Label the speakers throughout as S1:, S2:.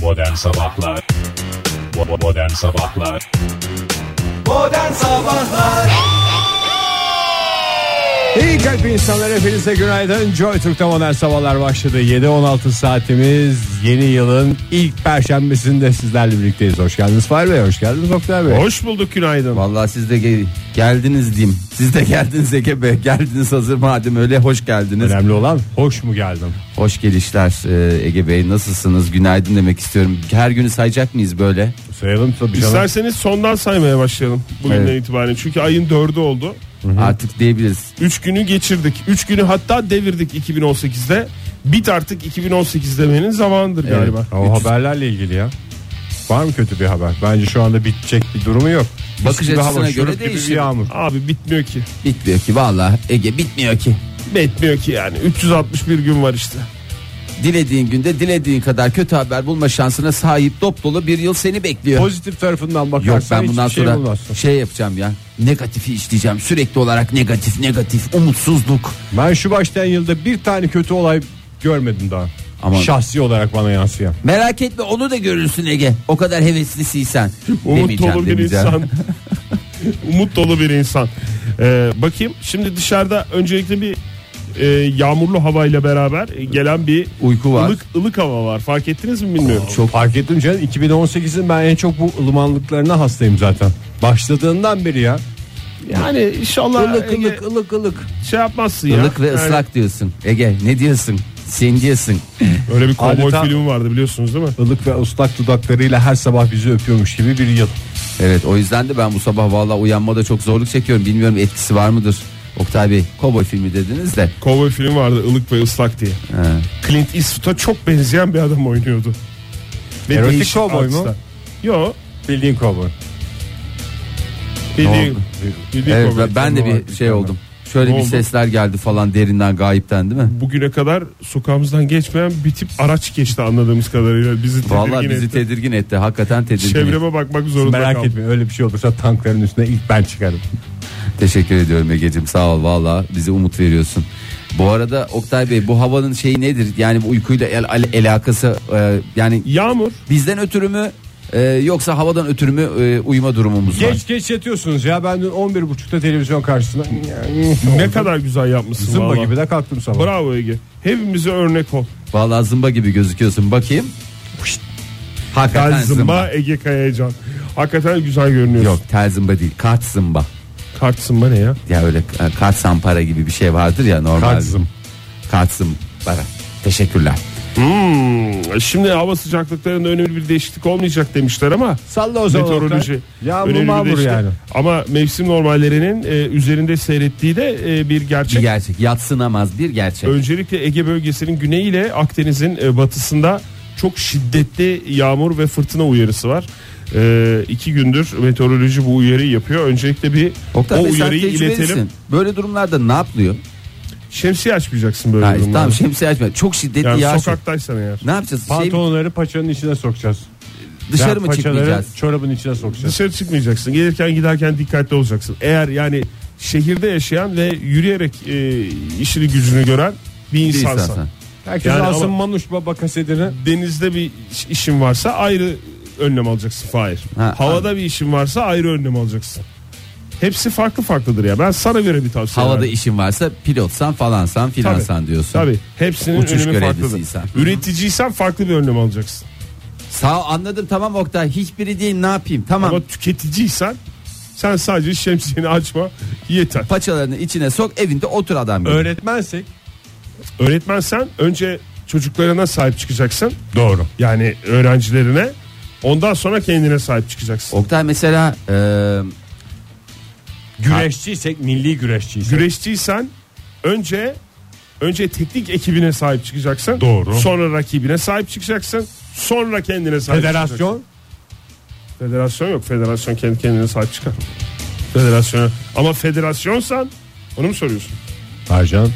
S1: Modern Sabahlar Bo- Modern Sabahlar
S2: Modern Sabahlar
S3: İyi kalp insanlar hepinize günaydın Joy Türk'te modern sabahlar başladı 7-16 saatimiz yeni yılın ilk perşembesinde sizlerle birlikteyiz Hoş geldiniz Fahir Bey hoş geldiniz Oktay Bey
S4: Hoş bulduk günaydın.
S2: Vallahi siz de ge- geldiniz diyeyim Siz de geldiniz Ege Bey Geldiniz hazır madem öyle hoş geldiniz
S3: Önemli olan hoş mu geldim
S2: Hoş gelişler e, Ege Bey nasılsınız günaydın demek istiyorum Her günü sayacak mıyız böyle
S3: Sayalım tabii canım
S4: İsterseniz sondan saymaya başlayalım bugünden
S2: Evet.
S4: itibaren. Çünkü ayın dördü oldu.
S2: artık diyebiliriz
S4: Üç günü geçirdik. Üç günü hatta devirdik 2018'de. Bit artık 2018 demenin zamanıdır galiba.
S3: Ama o haberlerle ilgili ya Var mı kötü bir haber Bence şu anda bitecek bir durumu yok Mis
S2: Bakış
S3: gibi hava,
S2: açısına göre
S3: şurup gibi
S2: değişir.
S3: bir yağmur
S4: Abi bitmiyor ki.
S2: Bitmiyor ki vallahi Ege bitmiyor ki
S4: Bitmiyor ki yani. 361 gün var işte.
S2: Dilediğin günde dilediğin kadar kötü haber bulma şansına sahip dop dolu bir yıl seni bekliyor
S3: Pozitif tarafından
S2: Yok
S3: bakarsan
S2: ben bundan
S3: hiçbir şey
S2: sonra
S3: bulmazsın.
S2: şey yapacağım ya negatifi işleyeceğim sürekli olarak negatif negatif umutsuzluk
S3: Ben şu baştan yılda bir tane kötü olay görmedim daha
S2: Aman.
S3: Şahsi olarak bana yansıyan
S2: Merak etme onu da görürsün Ege. O kadar heveslisiysen.
S4: Umut
S2: Demeyeceğim,
S4: dolu bir
S2: demeyeceğim.
S4: insan. Umut dolu bir insan. Ee, bakayım şimdi dışarıda öncelikle bir e, yağmurlu havayla beraber gelen bir
S2: Uyku var.
S4: ılık ılık hava var. Fark ettiniz mi bilmiyorum.
S3: Çok fark ettim canım 2018'in ben en çok bu ılımanlıklarına hastayım zaten. Başladığından beri ya.
S4: Yani inşallah
S2: Ilık
S4: Ege,
S2: ılık ılık ılık.
S4: şey yapmazsın ya.
S2: Ilık ve
S4: Yani
S2: ıslak diyorsun. Ege ne diyorsun? Sen diyorsun.
S4: Öyle bir kovboy
S3: Adeta-
S4: filmi vardı biliyorsunuz değil mi?
S3: Ilık ve ıslak dudaklarıyla her sabah bizi öpüyormuş gibi bir yıl.
S2: Evet o yüzden de ben bu sabah valla uyanmada çok zorluk çekiyorum. Bilmiyorum etkisi var mıdır? Oktay Bey kovboy filmi dediniz de.
S4: Kovboy filmi vardı ılık ve ıslak diye.
S2: Ha.
S4: Clint Eastwood'a çok benzeyen bir adam oynuyordu. Ve
S3: Erotik
S4: değişik
S3: kovboy mu?
S4: artistler. Yo.
S3: Bildiğin kovboy.
S4: Bildiğin, bildiğin
S2: Evet
S4: kovboy
S2: ben, ben de
S4: filmi
S2: bir
S4: vardı.
S2: şey oldum. Şöyle
S4: Ne
S2: bir
S4: oldu?
S2: sesler geldi falan derinden gayipten değil mi?
S4: Bugüne kadar sokağımızdan geçmeyen bir tip araç geçti anladığımız kadarıyla. Bizi tedirgin
S2: Valla bizi
S4: etti.
S2: tedirgin etti. Hakikaten tedirgin etti.
S4: Çevreme bakmak zorunda
S3: Merak
S4: kaldım.
S3: etmeyin öyle bir şey olursa tankların üstüne ilk ben çıkarım.
S2: Teşekkür ediyorum Ege'cim sağ ol valla bize umut veriyorsun. Bu arada Oktay Bey bu havanın şeyi nedir? Yani bu uykuyla el, el- alakası e, yani
S4: Yağmur.
S2: bizden ötürü mü e, yoksa havadan ötürü mü e, uyuma durumumuz var?
S3: Geç geç yatıyorsunuz ya ben dün 11.30'da televizyon karşısında
S4: Ne kadar güzel yapmışsın
S3: zımba
S4: vallahi.
S3: gibi de kalktım sabah.
S4: Bravo Ege. Hepimize örnek ol.
S2: Valla zımba gibi gözüküyorsun bakayım. Hakikaten
S4: Tel
S2: zımba.
S4: zımba Ege Kayacan. Hakikaten güzel görünüyorsun.
S2: Yok tel zımba değil kart zımba.
S4: Kart zımba ne ya?
S2: Ya öyle e, kart sampara gibi bir şey vardır ya normal.
S3: Kart zım.
S2: Kart zımbara. Teşekkürler.
S4: Hmm, şimdi hava sıcaklıklarında önemli bir değişiklik olmayacak demişler ama
S3: Salla o zaman.
S4: meteoroloji
S3: Oktay. Yağmur
S4: önemli bir
S3: mağmur
S4: değişiklik.
S3: yani.
S4: Ama mevsim normallerinin e, üzerinde seyrettiği de e,
S2: Bir
S4: bir gerçek.
S2: gerçek yatsınamaz bir gerçek.
S4: Öncelikle Ege bölgesinin güneyi ile Akdeniz'in e, batısında çok şiddetli yağmur ve fırtına uyarısı var. E, iki gündür meteoroloji bu uyarıyı yapıyor. Öncelikle bir
S2: Oktay
S4: o
S2: Bey, sen
S4: uyarıyı
S2: tecrübelisin.
S4: iletelim.
S2: Böyle durumlarda ne yapılıyor?
S4: Şemsiye açmayacaksın böyle
S2: Ha,
S4: durumlarda.
S2: tamam şemsiye açma. Çok şiddetli
S4: yani
S2: yağış. yok.
S4: sokaktaysan eğer.
S2: Ne yapacağız? Şey,
S3: Pantolonları paçanın içine sokacağız.
S2: dışarı
S3: Yani
S2: mı
S3: paçaları
S2: çıkmayacağız?
S3: Çorabın içine sokacağız.
S4: Dışarı çıkmayacaksın. Gelirken giderken dikkatli olacaksın. Eğer yani şehirde yaşayan ve yürüyerek e, işini gücünü gören bir
S2: Bir
S4: insansan.
S2: insansan.
S3: Herkes
S4: Yani
S3: alsın
S4: ama-
S3: Manuş Baba kasetini.
S4: Denizde bir iş- işin varsa ayrı önlem alacaksın Fahir.
S2: Ha,
S4: Havada bir işin varsa ayrı önlem alacaksın. Hepsi farklı farklıdır ya. Ben sana göre bir tavsiye
S2: Havada
S4: verdim.
S2: işin varsa pilotsan falansan filansan diyorsun.
S4: Tabii. Hepsinin
S2: Uçuş
S4: önemi farklıdır.
S2: görevlisiysen.
S4: Üreticiysen farklı bir önlem alacaksın.
S2: Sağ ol, anladım tamam Oktay. Hiçbiri değil ne yapayım? Tamam.
S4: Ama tüketiciysen sen sadece şemsiyeni açma yeter.
S2: Paçalarını içine sok evinde otur adam gibi.
S3: Öğretmensek
S4: Öğretmensen önce çocuklarına sahip çıkacaksın.
S3: Doğru.
S4: Yani öğrencilerine ondan sonra kendine sahip çıkacaksın.
S2: Oktay mesela e,
S3: Güreşçiysek milli güreşçiysek.
S4: Güreşçiysen önce önce teknik ekibine sahip çıkacaksın.
S3: Doğru.
S4: Sonra rakibine sahip çıkacaksın. Sonra kendine sahip çıkacaksın.
S3: Federasyon.
S4: Federasyon yok. Federasyon kendi kendine sahip çıkar. Federasyona. Ama federasyonsan onu mu soruyorsun?
S3: Harcan.
S4: Yok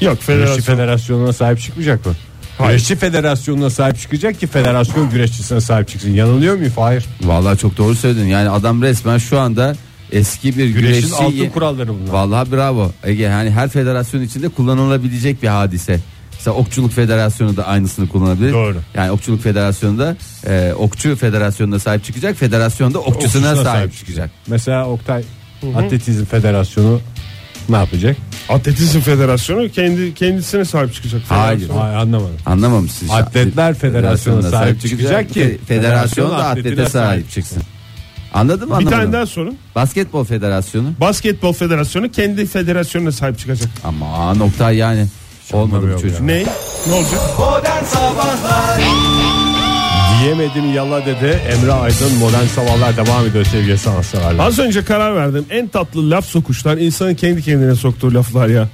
S3: Güreşçi
S4: federasyon.
S3: federasyonuna sahip çıkmayacak mı?
S4: Hayır.
S3: Güreşçi federasyonuna sahip çıkacak ki federasyon güreşçisine sahip çıksın. Yanılıyor muyum? Hayır.
S2: vallahi çok doğru söyledin. Yani adam resmen şu anda eski bir
S3: Güreşin
S2: güreşçi.
S3: altın kuralları bunlar.
S2: Vallahi bravo. Ege yani her federasyon içinde kullanılabilecek bir hadise. Mesela Okçuluk Federasyonu da aynısını kullanabilir.
S3: Doğru.
S2: Yani Okçuluk Federasyonu'nda e, Okçu Federasyonu'na sahip çıkacak. Federasyonda okçusuna,
S3: Okçusuna
S2: sahip,
S3: sahip
S2: çıkacak.
S3: Mesela Oktay Atletizm Federasyonu ne yapacak?
S4: Atletizm Federasyonu kendi kendisine sahip çıkacak.
S2: Hayır.
S4: federasyon.
S3: Hayır anlamadım.
S2: Anlamamışsın. işte.
S3: Atletler Federasyonu'na sahip çıkacak ki
S2: Federasyon da atlete sahip çıksın. Anladın mı?
S4: Bir
S2: Anlamadın
S4: tane
S2: mı?
S4: daha sorun.
S2: Basketbol Federasyonu.
S4: Basketbol Federasyonu kendi federasyonuna sahip çıkacak.
S2: Ama nokta yani olmadı bu
S3: anlamı yok
S2: çocuk.
S4: Ne? Ne olacak?
S3: Diyemedim yalla dedi Emre Aydın Modern Sabahlar devam ediyor sevgili sanatseverler.
S4: Az önce karar verdim. En tatlı laf sokuşlar insanın kendi kendine soktuğu laflar ya.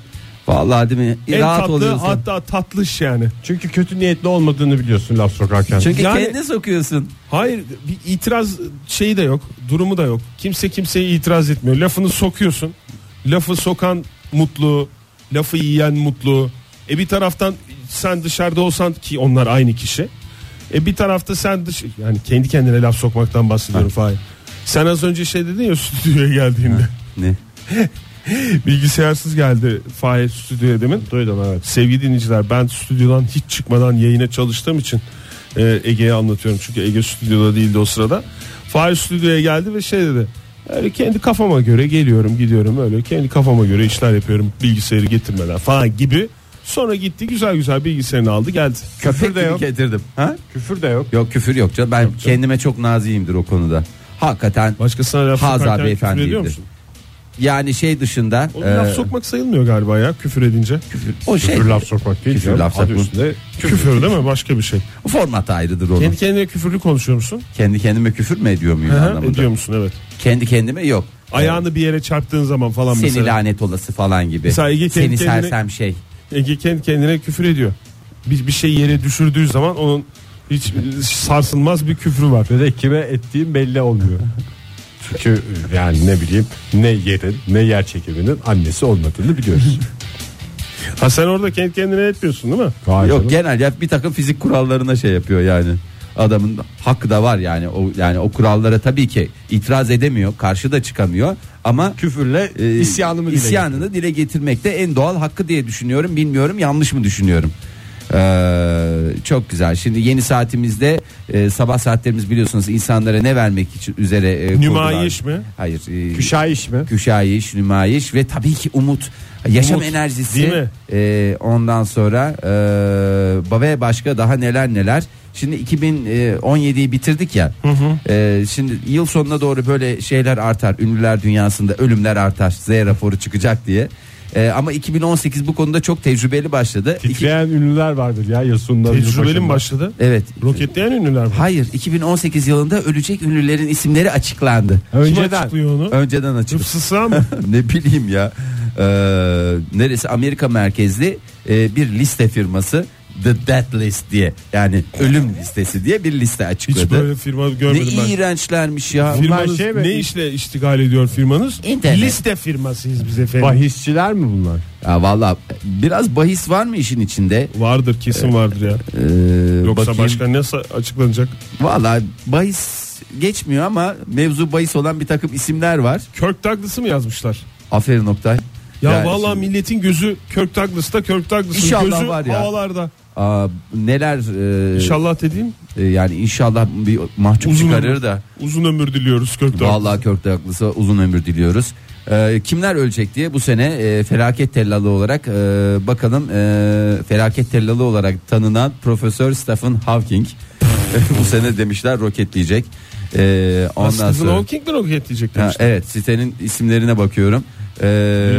S2: Vallahi değil mi?
S4: En
S2: Rahat
S4: tatlı
S2: oluyorsun.
S4: hatta tatlış yani.
S3: Çünkü kötü niyetli olmadığını biliyorsun laf sokarken.
S2: Çünkü
S4: Yani-
S2: kendine sokuyorsun.
S4: Hayır bir itiraz şeyi de yok. Durumu da yok. Kimse kimseye itiraz etmiyor. Lafını sokuyorsun. Lafı sokan mutlu. Lafı yiyen mutlu. E bir taraftan sen dışarıda olsan ki onlar aynı kişi. E bir tarafta sen dış yani kendi kendine laf sokmaktan bahsediyorum Fahir. Sen az önce şey dedin ya stüdyoya geldiğinde.
S2: Ne?
S4: Bilgisayarsız geldi Fahir stüdyoya demin. Duydum evet. Sevgili dinleyiciler ben stüdyodan hiç çıkmadan yayına çalıştığım için e, Ege'ye anlatıyorum. Çünkü Ege stüdyoda değildi o sırada. Fahir stüdyoya geldi ve şey dedi. Öyle kendi kafama göre geliyorum gidiyorum öyle kendi kafama göre işler yapıyorum bilgisayarı getirmeden falan gibi. Sonra gitti güzel güzel bilgisayarını aldı geldi.
S3: Küfür de
S2: gibi
S3: yok.
S2: getirdim. Ha?
S3: Küfür de yok.
S2: Yok küfür yok canım. Ben kendime çok naziyimdir o konuda. Hakikaten
S4: Başkasına laf
S2: Hazar
S4: sokarken küfür
S2: beyefendi
S4: ediyor
S2: dedi.
S4: musun?
S2: yani şey dışında
S4: O
S2: e,
S4: laf sokmak sayılmıyor galiba ya küfür edince.
S2: o şey
S3: Küfür laf sokmak değil.
S2: Küfür
S3: canım.
S2: laf
S3: Adı
S2: sokmak.
S3: üstünde
S4: Küfür, değil mi başka bir şey.
S2: format ayrıdır onun.
S4: Kendi
S2: Kendi,
S4: kendine küfürlü konuşuyor musun?
S2: kendime küfür mü ediyor muyum
S4: Hı hı,
S2: anlamında?
S4: ediyor musun evet.
S2: Kendi kendime yok.
S4: Ayağını bir yere çarptığın zaman falan
S2: Seni
S4: mesela.
S2: lanet olası falan gibi.
S4: Mesela Ege kendi
S2: Seni
S4: kendine-
S2: sersem şey.
S4: Ege kendi kendine küfür ediyor. Bir, bir şey yere düşürdüğü zaman onun hiç sarsılmaz bir küfrü var.
S3: Ve de kime ettiğim belli olmuyor. Çünkü yani ne bileyim ne yerin ne yer çekiminin annesi olmadığını biliyoruz.
S4: Ha sen orada kendi kendine etmiyorsun değil mi?
S3: Vay
S2: Yok
S3: canım.
S2: genel ya bir takım fizik kurallarına şey yapıyor yani. Adamın hakkı da var yani o yani o kurallara tabii ki itiraz edemiyor, karşı da çıkamıyor ama
S3: küfürle
S2: e,
S3: isyanımı dile
S2: isyanını dile getirmekte en doğal hakkı diye düşünüyorum. Bilmiyorum yanlış mı düşünüyorum? Ee, çok güzel. Şimdi yeni saatimizde e, sabah saatlerimiz biliyorsunuz insanlara ne vermek için üzere e, kurdular.
S4: Nümayiş mi?
S2: Hayır. e,
S3: Küşayiş mi?
S2: Küşayiş, nümayiş ve tabii ki umut. Yaşam
S4: Umut,
S2: enerjisi.
S4: değil mi?
S2: Ee, ondan sonra e, ve başka daha neler neler. Şimdi 2017'yi bitirdik ya. Ee, şimdi yıl sonuna doğru böyle şeyler artar. Ünlüler dünyasında ölümler artar. Z raporu çıkacak diye. Ee, ama 2018 bu konuda çok tecrübeli başladı. İki-
S3: Titreyen ünlüler vardır ya Yasun'da.
S4: Tecrübeli mi başladı?
S2: evet.
S4: Roketleyen ünlüler mi?
S2: Hayır, 2018 yılında ölecek ünlülerin isimleri açıklandı.
S4: Kim
S3: Önceden.
S4: açıklıyor onu?
S2: Önceden açıklandı.
S4: Hıfzısa mı?
S2: ne bileyim ya Ee, neresi Amerika merkezli e, bir liste firması The Death List diye yani ölüm listesi diye bir liste açıkladı.
S4: Hiç böyle firma
S2: ne
S4: görmedim ben.
S2: iğrençlermiş ya.
S4: Firmanız
S3: şey mi?
S4: ne işle iştigal ediyor firmanız?
S2: İnternet.
S4: Liste firmasıyız biz efendim.
S3: Bahisçiler mi bunlar?
S2: Ya valla biraz bahis var mı işin içinde?
S4: Vardır kesin vardır ya.
S2: Ee,
S4: Yoksa
S2: bakayım.
S4: başka ne sa- açıklanacak?
S2: Valla bahis geçmiyor ama mevzu bahis olan bir takım isimler var.
S4: Kirk Douglas'ı mı yazmışlar?
S2: Aferin Oktay.
S4: Ya
S2: Yani
S4: vallahi
S2: şimdi-
S4: milletin gözü Kirk Douglas'ta Kirk Douglas'ın
S2: İnşallah
S4: gözü
S2: var ya.
S4: havalarda.
S2: Aa, neler e,
S4: İnşallah dediğim
S2: e, yani inşallah bir mahcup
S4: Uzun
S2: çıkarır
S4: ömür.
S2: da.
S4: uzun ömür diliyoruz Kirk Douglas'a.
S2: Vallahi kökte haklısı uzun ömür diliyoruz. Ee, kimler ölecek diye bu sene e, felaket tellalı olarak e, bakalım e, felaket tellalı olarak tanınan Profesör Stephen Hawking bu sene demişler roketleyecek. E, ondan
S4: Ondan Stephen
S2: sonra
S4: Hawking de roket diyecek
S2: ha,
S4: demiştim.
S2: evet sitenin isimlerine bakıyorum. E,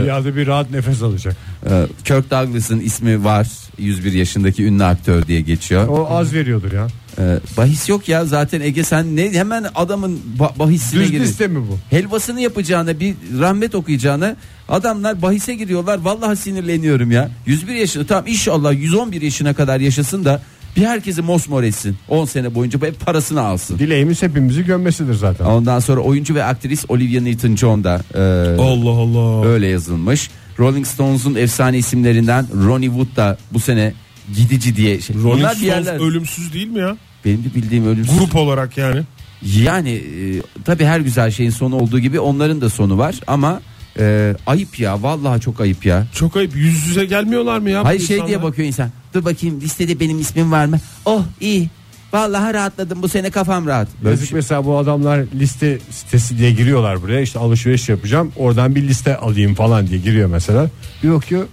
S3: Dünyada bir rahat nefes alacak.
S2: e, Kirk Douglas'ın ismi var 101 yaşındaki ünlü aktör diye geçiyor.
S3: O az veriyordur ya.
S2: E, bahis yok ya zaten Ege sen ne hemen adamın ba- bahisine
S3: Düz
S2: girdin.
S3: liste mi bu?
S2: helvasını yapacağına bir rahmet okuyacağına adamlar bahise giriyorlar. Vallahi sinirleniyorum ya. 101 yaşında tamam inşallah 111 yaşına kadar yaşasın da bir herkesi mosmor etsin. 10 sene boyunca hep parasını alsın.
S3: Dileğimiz hepimizi gömmesidir zaten.
S2: Ondan sonra oyuncu ve aktris Olivia Newton-John da e,
S4: Allah Allah.
S2: öyle yazılmış. Rolling Stones'un efsane isimlerinden Ronnie Wood da bu sene gidici diye. Şey.
S4: Rolling
S2: Bunlar bir
S4: Stones
S2: yerler.
S4: ölümsüz değil mi ya?
S2: Benim de bildiğim ölümsüz.
S4: Grup olarak yani.
S2: Yani e, tabii her güzel şeyin sonu olduğu gibi onların da sonu var ama Ee, ayıp ya vallahi çok ayıp ya.
S4: Çok ayıp yüz yüze gelmiyorlar mı ya? bu
S2: Hayır şey
S4: insanlar?
S2: diye bakıyor insan. Dur bakayım listede benim ismim var mı? Oh iyi. Vallahi rahatladım bu sene kafam rahat. Böyle bir
S3: Yazık
S2: şey-
S3: mesela bu adamlar liste sitesi diye giriyorlar buraya işte alışveriş yapacağım oradan bir liste alayım falan diye giriyor mesela. Bir bakıyor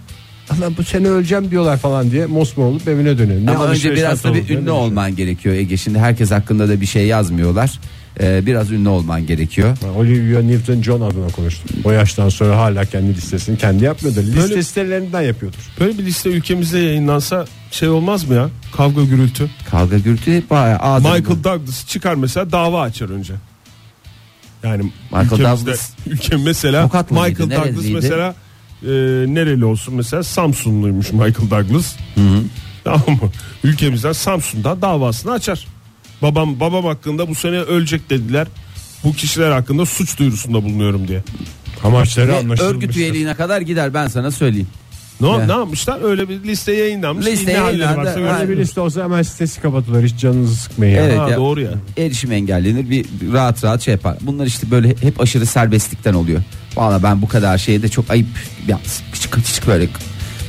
S3: Allah bu sene öleceğim diyorlar falan diye mosmor olup evine dönüyor. Ne
S2: Ama önce
S3: alışveriş
S2: biraz
S3: yaptın
S2: da bir
S3: şey oğlum,
S2: ünlü
S3: ne düşünüyorsun?
S2: olman gerekiyor Ege. Şimdi herkes hakkında da bir şey yazmıyorlar. Ee, biraz ünlü olman gerekiyor.
S3: Ben Olivia Newton-John adına konuştum. O yaştan sonra hala kendi listesini kendi yapmıyordur. Liste
S4: Böyle-
S3: sitelerinden yapıyordur.
S4: Böyle bir liste ülkemizde yayınlansa şey olmaz mı ya? Kavga gürültü.
S2: Kavga gürültü bayağı ağzını-
S4: Michael Douglas çıkar mesela dava açar önce. Yani
S2: Michael
S4: ülkemizde,
S2: Douglas-
S4: ülke mesela
S2: Tokat mıydı,
S4: Michael Douglas
S2: neresiydi?
S4: mesela e, nereli olsun mesela Samsunluymuş Michael Douglas. Tamam mı? Ülkemizden Samsun'da davasını açar. Babam babam hakkında bu sene ölecek dediler. Bu kişiler hakkında suç duyurusunda bulunuyorum diye.
S3: Amaçları
S2: Ve örgüt
S3: anlaşılmıştır.
S2: üyeliğine kadar gider ben sana söyleyeyim.
S4: Ne,
S2: Ya.
S4: ne yapmışlar? Öyle bir liste yayınlanmış.
S2: Liste
S4: Ne halleri
S2: yayınlandı.
S4: varsa
S2: Ha,
S4: görsün.
S3: Böyle bir liste olsa hemen sitesi kapatılır hiç canınızı sıkmayın.
S2: Evet.
S3: Evet.
S4: Ha,
S2: ya.
S4: doğru ya.
S2: Erişim engellenir bir bir rahat rahat şey yapar. Bunlar işte böyle hep aşırı serbestlikten oluyor. Valla ben bu kadar şeye de çok ayıp. Ya, küçük küçük böyle.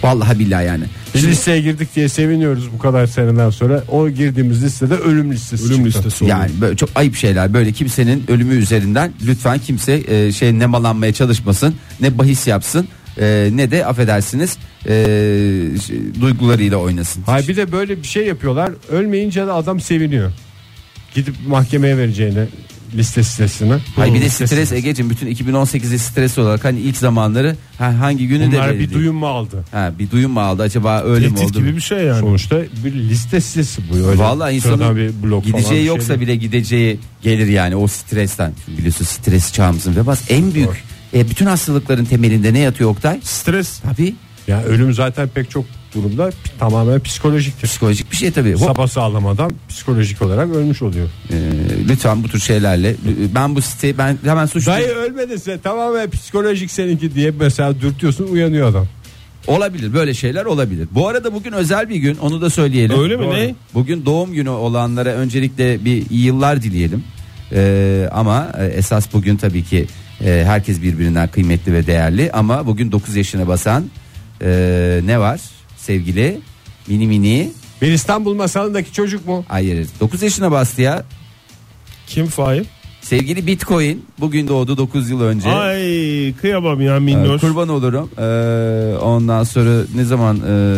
S2: Vallahi billahi yani.
S3: Biz listeye girdik diye seviniyoruz bu kadar seneden sonra. O girdiğimiz listede ölüm listesi
S4: Ölüm
S3: çıktı.
S4: listesi oluyor.
S2: Yani böyle çok ayıp şeyler böyle kimsenin ölümü üzerinden lütfen kimse e, şey ne malanmaya çalışmasın ne bahis yapsın e, ne de affedersiniz e, şey, duygularıyla oynasın.
S3: Hayır bir de böyle bir şey yapıyorlar. Ölmeyince de adam seviniyor. Gidip mahkemeye vereceğine liste sitesine.
S2: Hayır bir de
S3: Liste
S2: stres
S3: sitesi.
S2: Ege'cim bütün 2018'i stres olarak hani ilk zamanları ha, hangi günü de
S3: Bunlar
S2: belli
S3: bir
S2: değil.
S3: duyum mu aldı?
S2: Ha, bir duyum mu aldı acaba öyle mi
S4: Tehdit
S2: oldu?
S4: gibi bir şey yani.
S3: Sonuçta bir liste sitesi bu. Öyle
S2: Vallahi
S3: sıradan
S2: insanın
S3: bir blok falan bir
S2: gideceği
S3: şey
S2: yoksa
S3: değil.
S2: bile gideceği gelir yani o stresten. Çünkü biliyorsun stres çağımızın ve bas en büyük e, bütün hastalıkların temelinde ne yatıyor Oktay?
S4: Stres.
S2: Tabii
S3: Ya ölüm zaten pek çok durumda pi- tamamen psikolojiktir.
S2: psikolojik bir şey tabii. Hop,
S3: Sabah sağlam adam psikolojik olarak ölmüş oluyor.
S2: Ee, lütfen bu tür şeylerle lü- ben bu siteyi ben hemen suçlu
S3: Dayı ölmedi size tamamen psikolojik seninki diye mesela dürtüyorsun uyanıyor adam.
S2: olabilir böyle şeyler olabilir. Bu arada bugün özel bir gün onu da söyleyelim.
S4: Öyle mi? Doğru. Ne?
S2: Bugün doğum günü olanlara öncelikle bir iyi yıllar dileyelim. Ee, ama e, esas bugün tabii ki e, herkes birbirinden kıymetli ve değerli ama bugün 9 yaşına basan e, ne var sevgili mini mini
S3: Bir İstanbul masalındaki çocuk mu?
S2: hayır 9 yaşına bastı ya
S4: Kim Fahir?
S2: sevgili bitcoin bugün doğdu 9 yıl önce.
S4: Ay kıyamam ya
S2: Ee,
S4: minnoş.
S2: kurban olurum. Ee, ondan sonra ne zaman ee,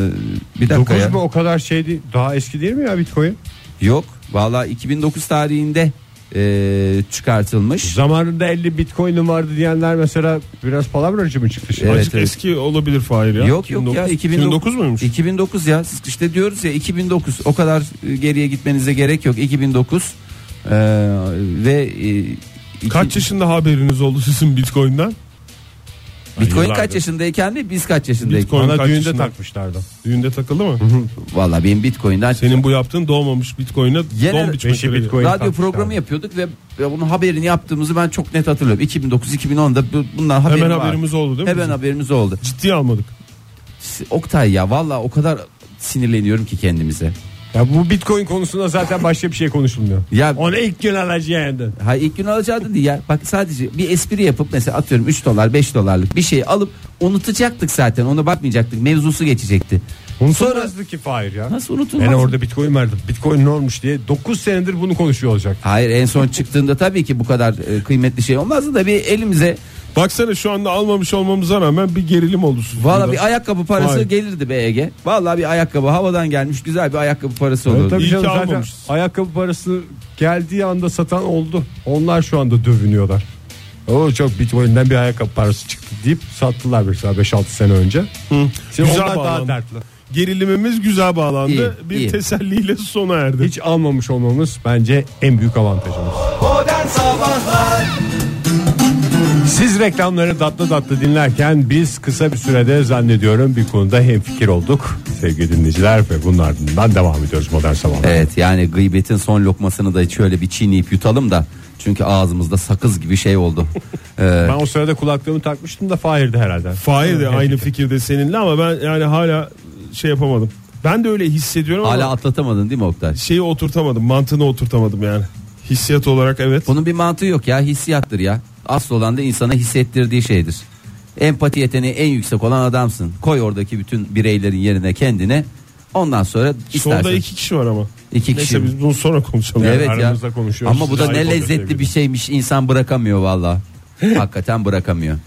S2: bir dakika
S3: 9
S2: ya.
S3: mu o kadar şey değil. Daha eski değil mi ya Bitcoin?
S2: Yok. Valla 2009 tarihinde ee, çıkartılmış.
S3: Zamanında 50 Bitcoin'im vardı diyenler mesela biraz palavracı mı çıktı şimdi?
S2: Evet,
S4: Azıcık
S2: evet.
S4: eski olabilir Fahir ya.
S2: Yok yok ya
S4: 2009 muymuş?
S2: 2009 ya işte diyoruz ya 2009 o kadar e, geriye gitmenize gerek yok 2009 ee, ve e, iki-
S4: Kaç yaşında haberiniz oldu sizin Bitcoin'den?
S2: Bitcoin
S4: Yıllardır.
S2: kaç yaşındayken mi biz kaç yaşındayken?
S4: Bitcoin-
S3: Bana
S4: kaç
S3: düğünde
S4: yaşında?
S3: takmışlardı.
S4: Düğünde takıldı mı?
S2: Valla benim Bitcoin'den
S4: Senin bu yaptığın doğmamış Bitcoin'e
S2: Genel-
S4: don biçmek
S3: Beşi
S4: gerekiyor.
S3: Bitcoin.
S2: radyo
S3: takmışlardı.
S2: programı yapıyorduk ve ve bunun haberini yaptığımızı ben çok net hatırlıyorum. 2009-2010'da bu- bundan haberim
S4: Hemen
S2: vardı.
S4: haberimiz oldu değil mi?
S2: Hemen
S4: bizim?
S2: haberimiz oldu.
S4: Ciddiye almadık.
S2: S- Oktay ya valla o kadar sinirleniyorum ki kendimize.
S3: Ya bu Bitcoin konusunda zaten başka bir şey konuşulmuyor.
S2: Ya
S3: Onu ilk gün alacaktın.
S2: ha, ilk gün alacaktın diye ya. Bak sadece bir espri yapıp mesela atıyorum 3 dolar 5 dolarlık bir şey alıp unutacaktık zaten. Ona bakmayacaktık. Mevzusu geçecekti.
S3: Unutulmazdı ki Fahir ya.
S2: Nasıl unutulmaz?
S3: Ben orada Bitcoin verdim. Bitcoin ne olmuş diye 9 senedir bunu konuşuyor olacak.
S2: Hayır en son çıktığında tabii ki bu kadar e, kıymetli şey olmazdı da bir elimize
S4: Baksana şu anda almamış olmamıza rağmen bir gerilim oldu. stüdyoda.
S2: valla bir ayakkabı parası
S4: Vay.
S2: gelirdi BEG. Valla bir ayakkabı havadan gelmiş güzel bir ayakkabı parası olurdu.
S3: E, tabii
S4: İyi
S3: canım
S4: ki
S3: zaten
S4: almamış.
S3: ayakkabı parası geldiği anda satan oldu. Onlar şu anda dövünüyorlar. O çok Bitcoin'den bir ayakkabı parası çıktı deyip sattılar mesela 5-6 sene önce. Şimdi
S4: Güzel
S3: onlar daha
S4: bağlandı.
S3: dertli.
S4: Gerilimimiz güzel bağlandı.
S2: İyi,
S4: bir
S2: iyi.
S4: teselliyle sona erdi.
S3: Hiç almamış olmamız bence en büyük avantajımız. Siz reklamları tatlı tatlı dinlerken biz kısa bir sürede zannediyorum bir konuda hemfikir olduk. Sevgili dinleyiciler ve bunun ardından devam ediyoruz modern sabahlar.
S2: Evet yani gıybetin son lokmasını da şöyle bir çiğneyip yutalım da. Çünkü ağzımızda sakız gibi şey oldu. Ee,
S3: Ben o sırada kulaklığımı takmıştım da Fahir'di herhalde.
S4: Fahir de aynı fikirde seninle ama ben yani hala şey yapamadım. Ben de öyle hissediyorum
S2: hala
S4: ama
S2: atlatamadın değil mi Oktay?
S4: şeyi oturtamadım. Mantığını oturtamadım yani. Hissiyat olarak evet.
S2: Bunun bir mantığı yok ya hissiyattır ya. Asıl olan da insana hissettirdiği şeydir. Empati yeteneği en yüksek olan adamsın. Koy oradaki bütün bireylerin yerine kendini. Ondan sonra istersen.
S4: Solda iki kişi var ama.
S2: İki kişi.
S4: Neyse biz bunu sonra konuşalım.
S2: Evet ya.
S4: Aramızda konuşuyoruz.
S2: Ama bu da
S4: Siz
S2: ne
S4: ayıp oluyor
S2: lezzetli
S4: sevgili.
S2: bir şeymiş. İnsan bırakamıyor valla. Hakikaten bırakamıyor.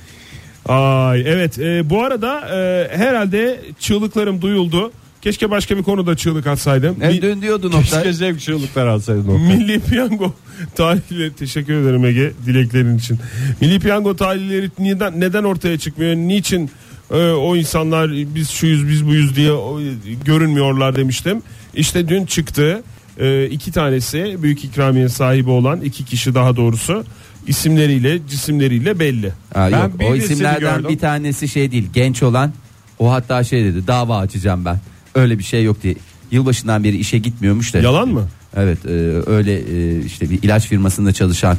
S4: Ay evet e, bu arada e, herhalde çığlıklarım duyuldu. Keşke başka bir konuda çığlık atsaydım.
S2: E,
S4: Mi-
S2: dün diyordun Oktay.
S3: Keşke zevk çığlıklar alsaydın o.
S4: Milli Piyango tarihleri teşekkür ederim Ege dileklerin için. Milli Piyango tarihleri neden neden ortaya çıkmıyor? Niçin e, o insanlar biz şuyuz biz buyuz diye o, e, görünmüyorlar demiştim. İşte dün çıktı. E, iki tanesi büyük ikramiye sahibi olan iki kişi daha doğrusu isimleriyle cisimleriyle belli.
S2: Aa,
S3: Ben
S2: yok, o
S3: birisini
S2: isimlerden
S3: gördüm.
S2: bir tanesi şey değil genç olan o hatta şey dedi dava açacağım ben öyle bir şey yok diye yılbaşından beri işe gitmiyormuş da
S4: Yalan mı?
S2: evet e, öyle e, işte bir ilaç firmasında çalışan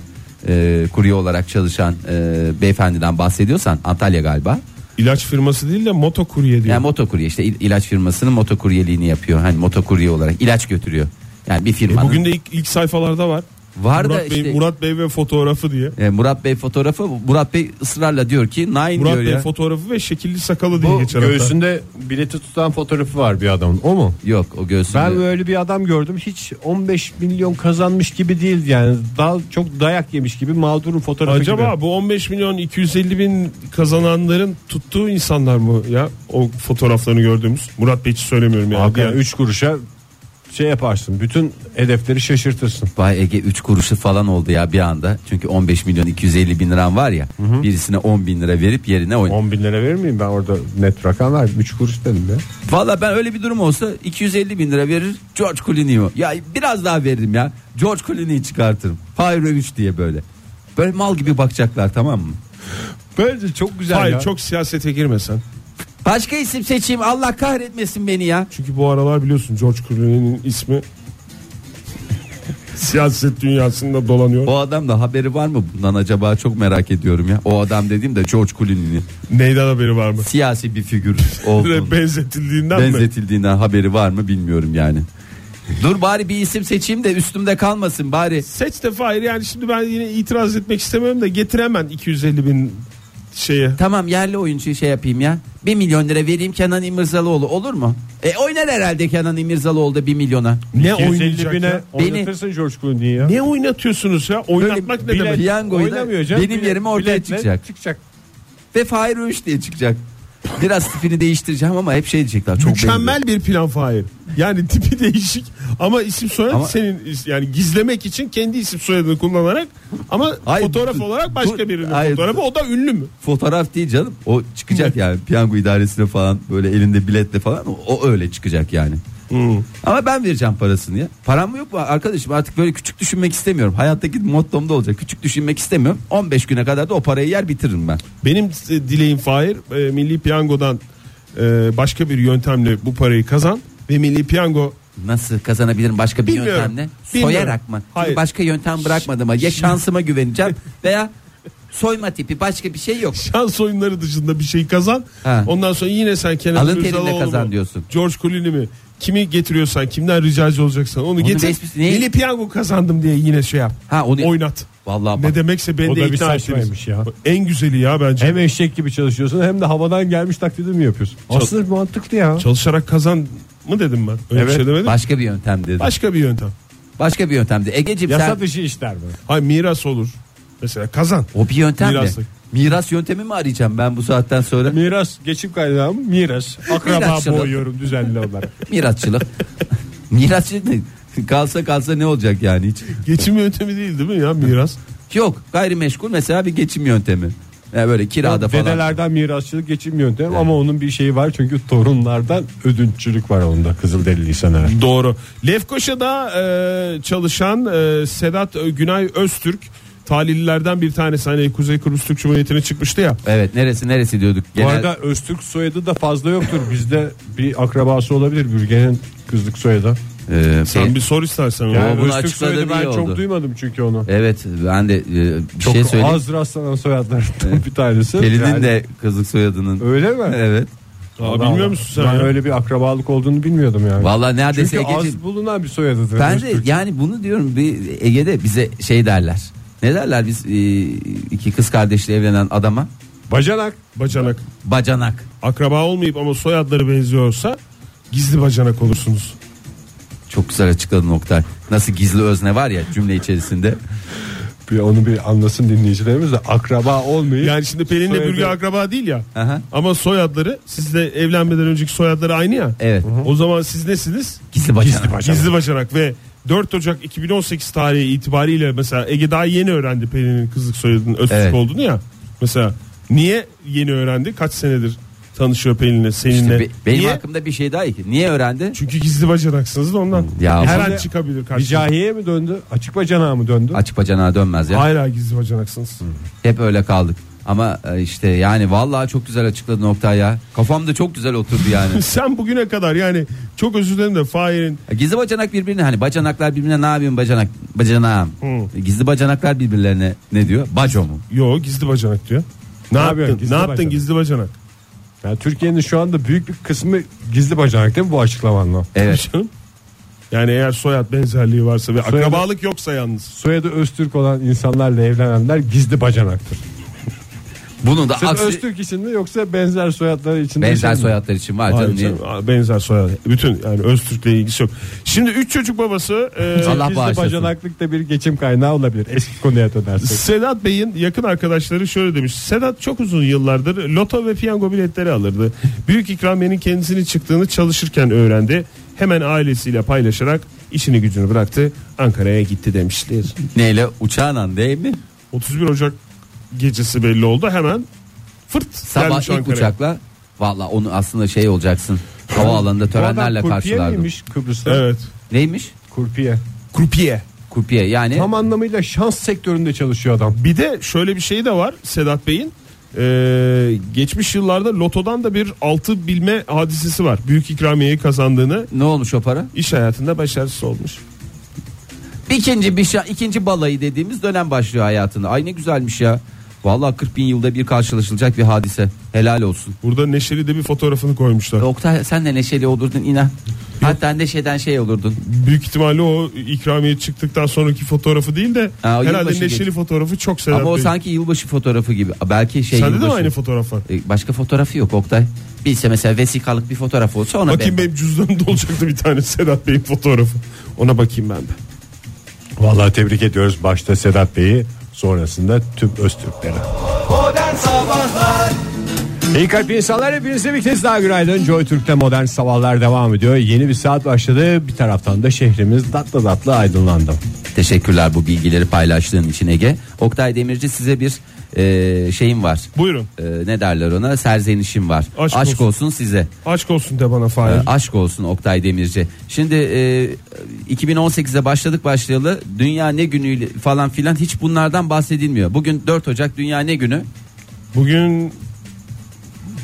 S2: e, kurye olarak çalışan e, beyefendiden bahsediyorsan Antalya galiba
S4: İlaç firması değil de motokurye diyor.
S2: yani motokurye işte il- ilaç firmasının motokuryeliğini yapıyor hani motokurye olarak ilaç götürüyor yani bir
S4: E,
S2: firmanın
S4: bugün de ilk, ilk sayfalarda var.
S2: var
S4: Murat,
S2: da işte
S4: Bey,
S2: Murat...
S4: Murat Bey ve fotoğrafı diye.
S2: E, Murat Bey fotoğrafı Murat Bey ısrarla diyor ki nine
S4: Murat
S2: diyor
S4: Bey
S2: ya.
S4: fotoğrafı ve şekilli sakalı diye
S3: Bu
S4: geçer. hatta.
S3: göğsünde bileti tutan fotoğrafı var bir adamın. O mu?
S2: Yok o göğsünde.
S3: Ben böyle bir adam gördüm. Hiç 15 milyon kazanmış gibi değil yani. Daha çok dayak yemiş gibi mağdurun fotoğrafı
S4: Acaba
S3: gibi.
S4: bu 15 milyon 250 bin kazananların tuttuğu insanlar mı ya o fotoğraflarını gördüğümüz? Murat Bey hiç söylemiyorum yani.
S3: Hakikaten
S4: Diğer-
S3: 3 kuruşa şey yaparsın. Bütün hedefleri şaşırtırsın.
S2: Bay Ege 3 kuruşu falan oldu ya bir anda. Çünkü 15 milyon 250 bin liran var ya. Birisine 10 bin lira verip yerine oyn.
S3: 10 bin lira verir miyim ben orada net rakam ver 3 kuruş dedim ya.
S2: Valla ben öyle bir durum olsa 250 bin lira verir George Clooney'i o. Ya biraz daha veririm ya. George Clooney'i çıkartırım. Pyro 3 diye böyle. Böyle mal gibi bakacaklar tamam mı?
S3: Bence çok güzel
S4: Hayır
S3: ya.
S4: çok siyasete girmesen.
S2: Başka isim seçeyim Allah kahretmesin beni ya.
S4: Çünkü bu aralar biliyorsun George Clooney'nin ismi siyaset dünyasında dolanıyor.
S2: O adam da haberi var mı bundan acaba çok merak ediyorum ya. O adam dediğim de George Clooney'nin
S4: Neyden haberi var mı?
S2: siyasi bir figür olduğunu.
S4: Benzetildiğinden mi?
S2: benzetildiğinden haberi var mı bilmiyorum yani. Dur bari bir isim seçeyim de üstümde kalmasın bari.
S4: Seç de Fahir yani şimdi ben yine itiraz etmek istemiyorum da getiremen 250 bin şeye.
S2: Tamam yerli oyuncuyu şey yapayım ya. 1 milyon lira vereyim Kenan İmirzalıoğlu olur mu? E oynar herhalde Kenan İmirzalıoğlu da 1 milyona.
S4: Ne
S3: 250
S4: oynayacak
S3: bine
S4: ya?
S2: Beni-
S3: oynatırsın George Clooney'i ya.
S4: Ne oynatıyorsunuz ya? Oynatmak ne
S2: bilet-
S4: demek?
S2: Piyangoyu da
S3: Oynamıyor canım.
S2: benim
S3: Bilet-
S2: yerime ortaya
S3: biletle
S2: çıkacak.
S3: çıkacak.
S2: Ve Fahir Öğüş diye çıkacak. Biraz tipini değiştireceğim ama hep şey diyecekler. Çok benziyor.
S4: Mükemmel bir plan Fahir. Yani tipi değişik ama isim soyad
S2: Ama-
S4: senin is- yani gizlemek için kendi isim soyadını kullanarak ama
S2: Hayır,
S4: fotoğraf
S2: dur-
S4: olarak
S2: dur-
S4: başka birinin
S2: hayır,
S4: fotoğrafı o da ünlü mü?
S2: Fotoğraf değil canım. O çıkacak yani piyango idaresine falan böyle elinde biletle falan o, o öyle çıkacak yani. Ama ben vereceğim parasını ya. Param mı yok mu arkadaşım artık böyle küçük düşünmek istemiyorum. Hayattaki mottomda olacak. Küçük düşünmek istemiyorum. 15 güne kadar da o parayı yer bitiririm ben.
S4: Benim e, dileğim Fahir e, Milli Piyango'dan e, başka bir yöntemle bu parayı kazan ve Milli Piyango
S2: Nasıl kazanabilirim başka bir
S4: Bilmiyorum.
S2: yöntemle?
S4: Bilmiyorum.
S2: Soyarak mı? Çünkü
S4: Hayır.
S2: Başka yöntem bırakmadım ama ya şansıma güveneceğim veya soyma tipi başka bir şey yok.
S4: şans oyunları dışında bir şey kazan.
S2: Ha.
S4: Ondan sonra yine sen Kenan
S2: Alın
S4: Ünsal'ı
S2: teriyle
S4: oğlu
S2: kazan
S4: mu,
S2: diyorsun.
S4: George Clooney'i mi? Kimi getiriyorsan kimden ricacı olacaksan onu, getir.
S2: resmi- ne-
S4: Milli Piyango kazandım diye yine şey yap.
S2: Ha, onu-
S4: Oynat.
S2: Vallahi bak.
S4: Ne demekse beni
S3: O
S4: de
S3: da bir
S4: ikna ettiniz.
S3: saçmaymış ya.
S4: En güzeli ya bence.
S3: Hem eşek gibi çalışıyorsun hem de havadan gelmiş taklidi mi yapıyorsun? Aslında mantıklı ya.
S4: Çalışarak kazan mı dedim ben? Öyle
S3: Evet.
S4: bir şey demedim.
S2: Başka bir yöntem dedi.
S4: Başka bir yöntem.
S2: başka bir yöntemdi. Egeciğim sen
S3: Yasa dışı işler mi?
S4: Hayır miras olur. Mesela kazan.
S2: o bir yöntem mi?
S4: Miraslık.
S2: Miras yöntemi mi arayacağım ben bu saatten sonra?
S3: Miras geçim kaynağı mı? Miras. Akraba
S2: Mirasçılık.
S3: boyuyorum düzenli olarak.
S2: Mirasçılık. Mirasçılık ne? Kalsa kalsa ne olacak yani hiç?
S4: Geçim yöntemi değil değil mi ya miras?
S2: Yok gayrimeşgul mesela bir geçim yöntemi. Ya böyle kirada falan.
S3: Dedelerden mirasçılık geçim yöntemi ama onun bir şeyi var çünkü torunlardan ödünççülük var onda Kızılderiliysen eğer.
S4: Doğru. Lefkoşa'da e, çalışan e, Sedat Günay Öztürk talihlilerden bir tanesi hani Kuzey Kıbrıs Türk Cumhuriyeti'ne çıkmıştı ya.
S2: Evet neresi neresi diyorduk.
S3: Bu
S2: Genel-
S3: arada Öztürk soyadı da fazla yoktur. Bizde bir akrabası olabilir Bürgen'in kızlık soyadı.
S2: Ee,
S4: Sen
S3: Şey-
S2: pe-
S4: bir sor istersen.
S2: Ya
S4: onu.
S2: bunu
S3: Öztürk
S2: açıkladı
S3: soyadı ben
S2: diye oldu.
S3: çok duymadım çünkü onu.
S2: Evet ben de e, bir
S3: Çok
S2: şey söyleyeyim.
S3: az rastlanan soyadlardan bir tanesi.
S2: Pelin'in
S3: Yani-
S2: de kızlık soyadının.
S3: Öyle mi?
S2: Evet.
S4: Aa,
S3: Allah
S4: bilmiyor
S3: Allah.
S4: musun sen?
S3: Ben
S4: ya?
S3: öyle bir akrabalık olduğunu bilmiyordum yani.
S2: Vallahi neredeyse
S3: Çünkü
S2: Ege'ciğim.
S3: az bulunan bir soyadıdır.
S2: Ben de
S3: Öztürk.
S2: yani bunu diyorum bir Ege'de bize şey derler. Ne derler biz e, iki kız kardeşle evlenen adama?
S3: Bacanak.
S4: Bacanak.
S2: Bacanak.
S4: Akraba olmayıp ama soyadları benziyorsa gizli bacanak olursunuz.
S2: Çok güzel açıkladın Oktay. Nasıl gizli özne var ya cümle içerisinde.
S3: Bir onu bir anlasın dinleyicilerimiz de akraba olmayıp.
S4: Yani şimdi Pelin'le
S3: Soyadı-
S4: Bürge akraba değil ya.
S2: Aha.
S4: Ama soyadları sizle evlenmeden önceki soyadları aynı ya.
S2: Evet.
S4: O zaman siz nesiniz?
S2: Gizli bacanak.
S4: Gizli bacanak ve 4 Ocak 2018 tarihi itibariyle mesela Ege daha yeni öğrendi Pelin'in kızlık soyadının Öztürk
S2: Evet.
S4: olduğunu ya. Mesela niye yeni öğrendi? Kaç senedir tanışıyor Pelin'le seninle?
S2: İşte be- benim
S4: niye?
S2: hakkımda bir şey daha iyi. ki. Niye öğrendi?
S4: Çünkü gizli bacanaksınız da ondan.
S2: Ya
S4: Her
S3: bu-
S4: an çıkabilir
S3: Bir
S4: karşınıza.
S3: cahiyeye mi döndü? Açık bacanağa mı döndü?
S2: Açık bacanağa dönmez ya.
S4: Hala gizli bacanaksınız.
S2: Hep öyle kaldık. Ama e, işte yani vallahi çok güzel açıkladın Oktay ya. Kafamda çok güzel oturdu yani.
S4: Sen bugüne kadar yani çok özür dilerim de Fahir'in
S2: Gizli bacanak birbirine hani bacanaklar birbirine ne yapayım bacanak bacanağım.
S4: Hı.
S2: Gizli bacanaklar birbirlerine ne diyor? Baco mu?
S4: yo gizli bacanak diyor. Ne,
S3: Ne yapıyorsun
S4: yaptın?
S3: gizli
S4: ne yaptın
S3: bacanak?
S4: gizli bacanak?
S3: Yani Türkiye'nin şu anda büyük bir kısmı gizli bacanak değil mi bu açıklamanla?
S2: Evet.
S4: Canım. Yani eğer soyad benzerliği varsa ve
S3: Soyadı-
S4: akrabalık yoksa yalnız.
S3: Soyadı Öztürk olan insanlarla evlenenler gizli bacanaktır.
S2: Bunu da
S3: Sen
S2: aksi
S3: Öztürk için mi yoksa benzer soyadları için mi?
S2: benzer soyadlar için var canım.
S4: Hayır
S2: niye?
S4: canım, benzer soyad. Bütün yani Öztürk'le ilgisi yok. Şimdi üç çocuk babası e,
S2: Allah
S3: Gizli
S2: bağışlasın.
S3: bacanaklık da bir geçim kaynağı olabilir eski konuya dönersek.
S4: Sedat Bey'in yakın arkadaşları şöyle demiş. Sedat çok uzun yıllardır loto ve piyango biletleri alırdı. Büyük ikramiyenin kendisini çıktığını çalışırken öğrendi. Hemen ailesiyle paylaşarak işini gücünü bıraktı. Ankara'ya gitti demişler.
S2: Neyle uçağla değil mi?
S4: 31 Ocak gecesi belli oldu. Hemen fırt
S2: Sabah
S4: gelmiş
S2: ilk
S4: Ankara'ya.
S2: uçakla valla onu aslında şey olacaksın. Havaalanında
S3: Bu adam
S2: törenlerle
S3: kurpiye
S2: karşılardım.
S3: miymiş Kıbrıs'ta?
S4: Evet.
S2: Neymiş?
S3: Kurpiye.
S4: Krupiye.
S2: Kurpiye yani
S3: Tam anlamıyla şans sektöründe çalışıyor adam.
S4: Bir de şöyle bir şey de var Sedat Bey'in. Ee, geçmiş yıllarda lotodan da bir altı bilme hadisesi var. Büyük ikramiyeyi kazandığını
S2: ne olmuş o para?
S4: iş hayatında başarısız olmuş.
S2: İkinci bir şa- ikinci balayı dediğimiz dönem başlıyor hayatında. Ay ne güzelmiş ya. Vallahi 40 bin yılda bir karşılaşılacak bir hadise. Helal olsun.
S4: Burada Neşeli de bir fotoğrafını koymuşlar.
S2: Oktay sen de neşeli olurdun inan. Hatta neşeden şey olurdun.
S4: Büyük ihtimalle o ikramiye çıktıktan sonraki fotoğrafı değil de
S2: Ha, o
S4: herhalde
S2: yılbaşı
S4: Neşeli
S2: geçti.
S4: fotoğrafı çok Sedat
S2: Ama o
S4: Bey.
S2: sanki yılbaşı fotoğrafı gibi. Belki şey
S4: Sende de mi
S2: yılbaşı-
S4: aynı fotoğraf var?
S2: E, Başka fotoğrafı yok Oktay. Bilse mesela vesikalık bir fotoğraf olsa ona
S4: Bakayım
S2: ben.
S4: benim cüzdanımda olacaktı bir tane Sedat Bey'in fotoğrafı. Ona bakayım ben de.
S3: Vallahi tebrik ediyoruz başta Sedat Bey'i sonrasında tüm Öztürkleri. İyi kalp insanlar hepinize bir kez daha günaydın. Joy Türk'te modern sabahlar devam ediyor. Yeni bir saat başladı. Bir taraftan da şehrimiz tatlı tatlı aydınlandı.
S2: Teşekkürler bu bilgileri paylaştığın için Ege. Oktay Demirci size bir e, şeyim var.
S4: Buyurun.
S2: E, ne derler ona? Serzenişim var.
S4: Aşk
S2: Aşk,
S4: olsun.
S2: olsun. size.
S4: Aşk olsun de bana
S2: E,
S4: Fahir.
S2: aşk olsun Oktay Demirci. Şimdi e, 2018'e başladık başlayalı dünya ne günüyle falan filan hiç bunlardan bahsedilmiyor. Bugün 4 Ocak dünya ne günü?
S4: Bugün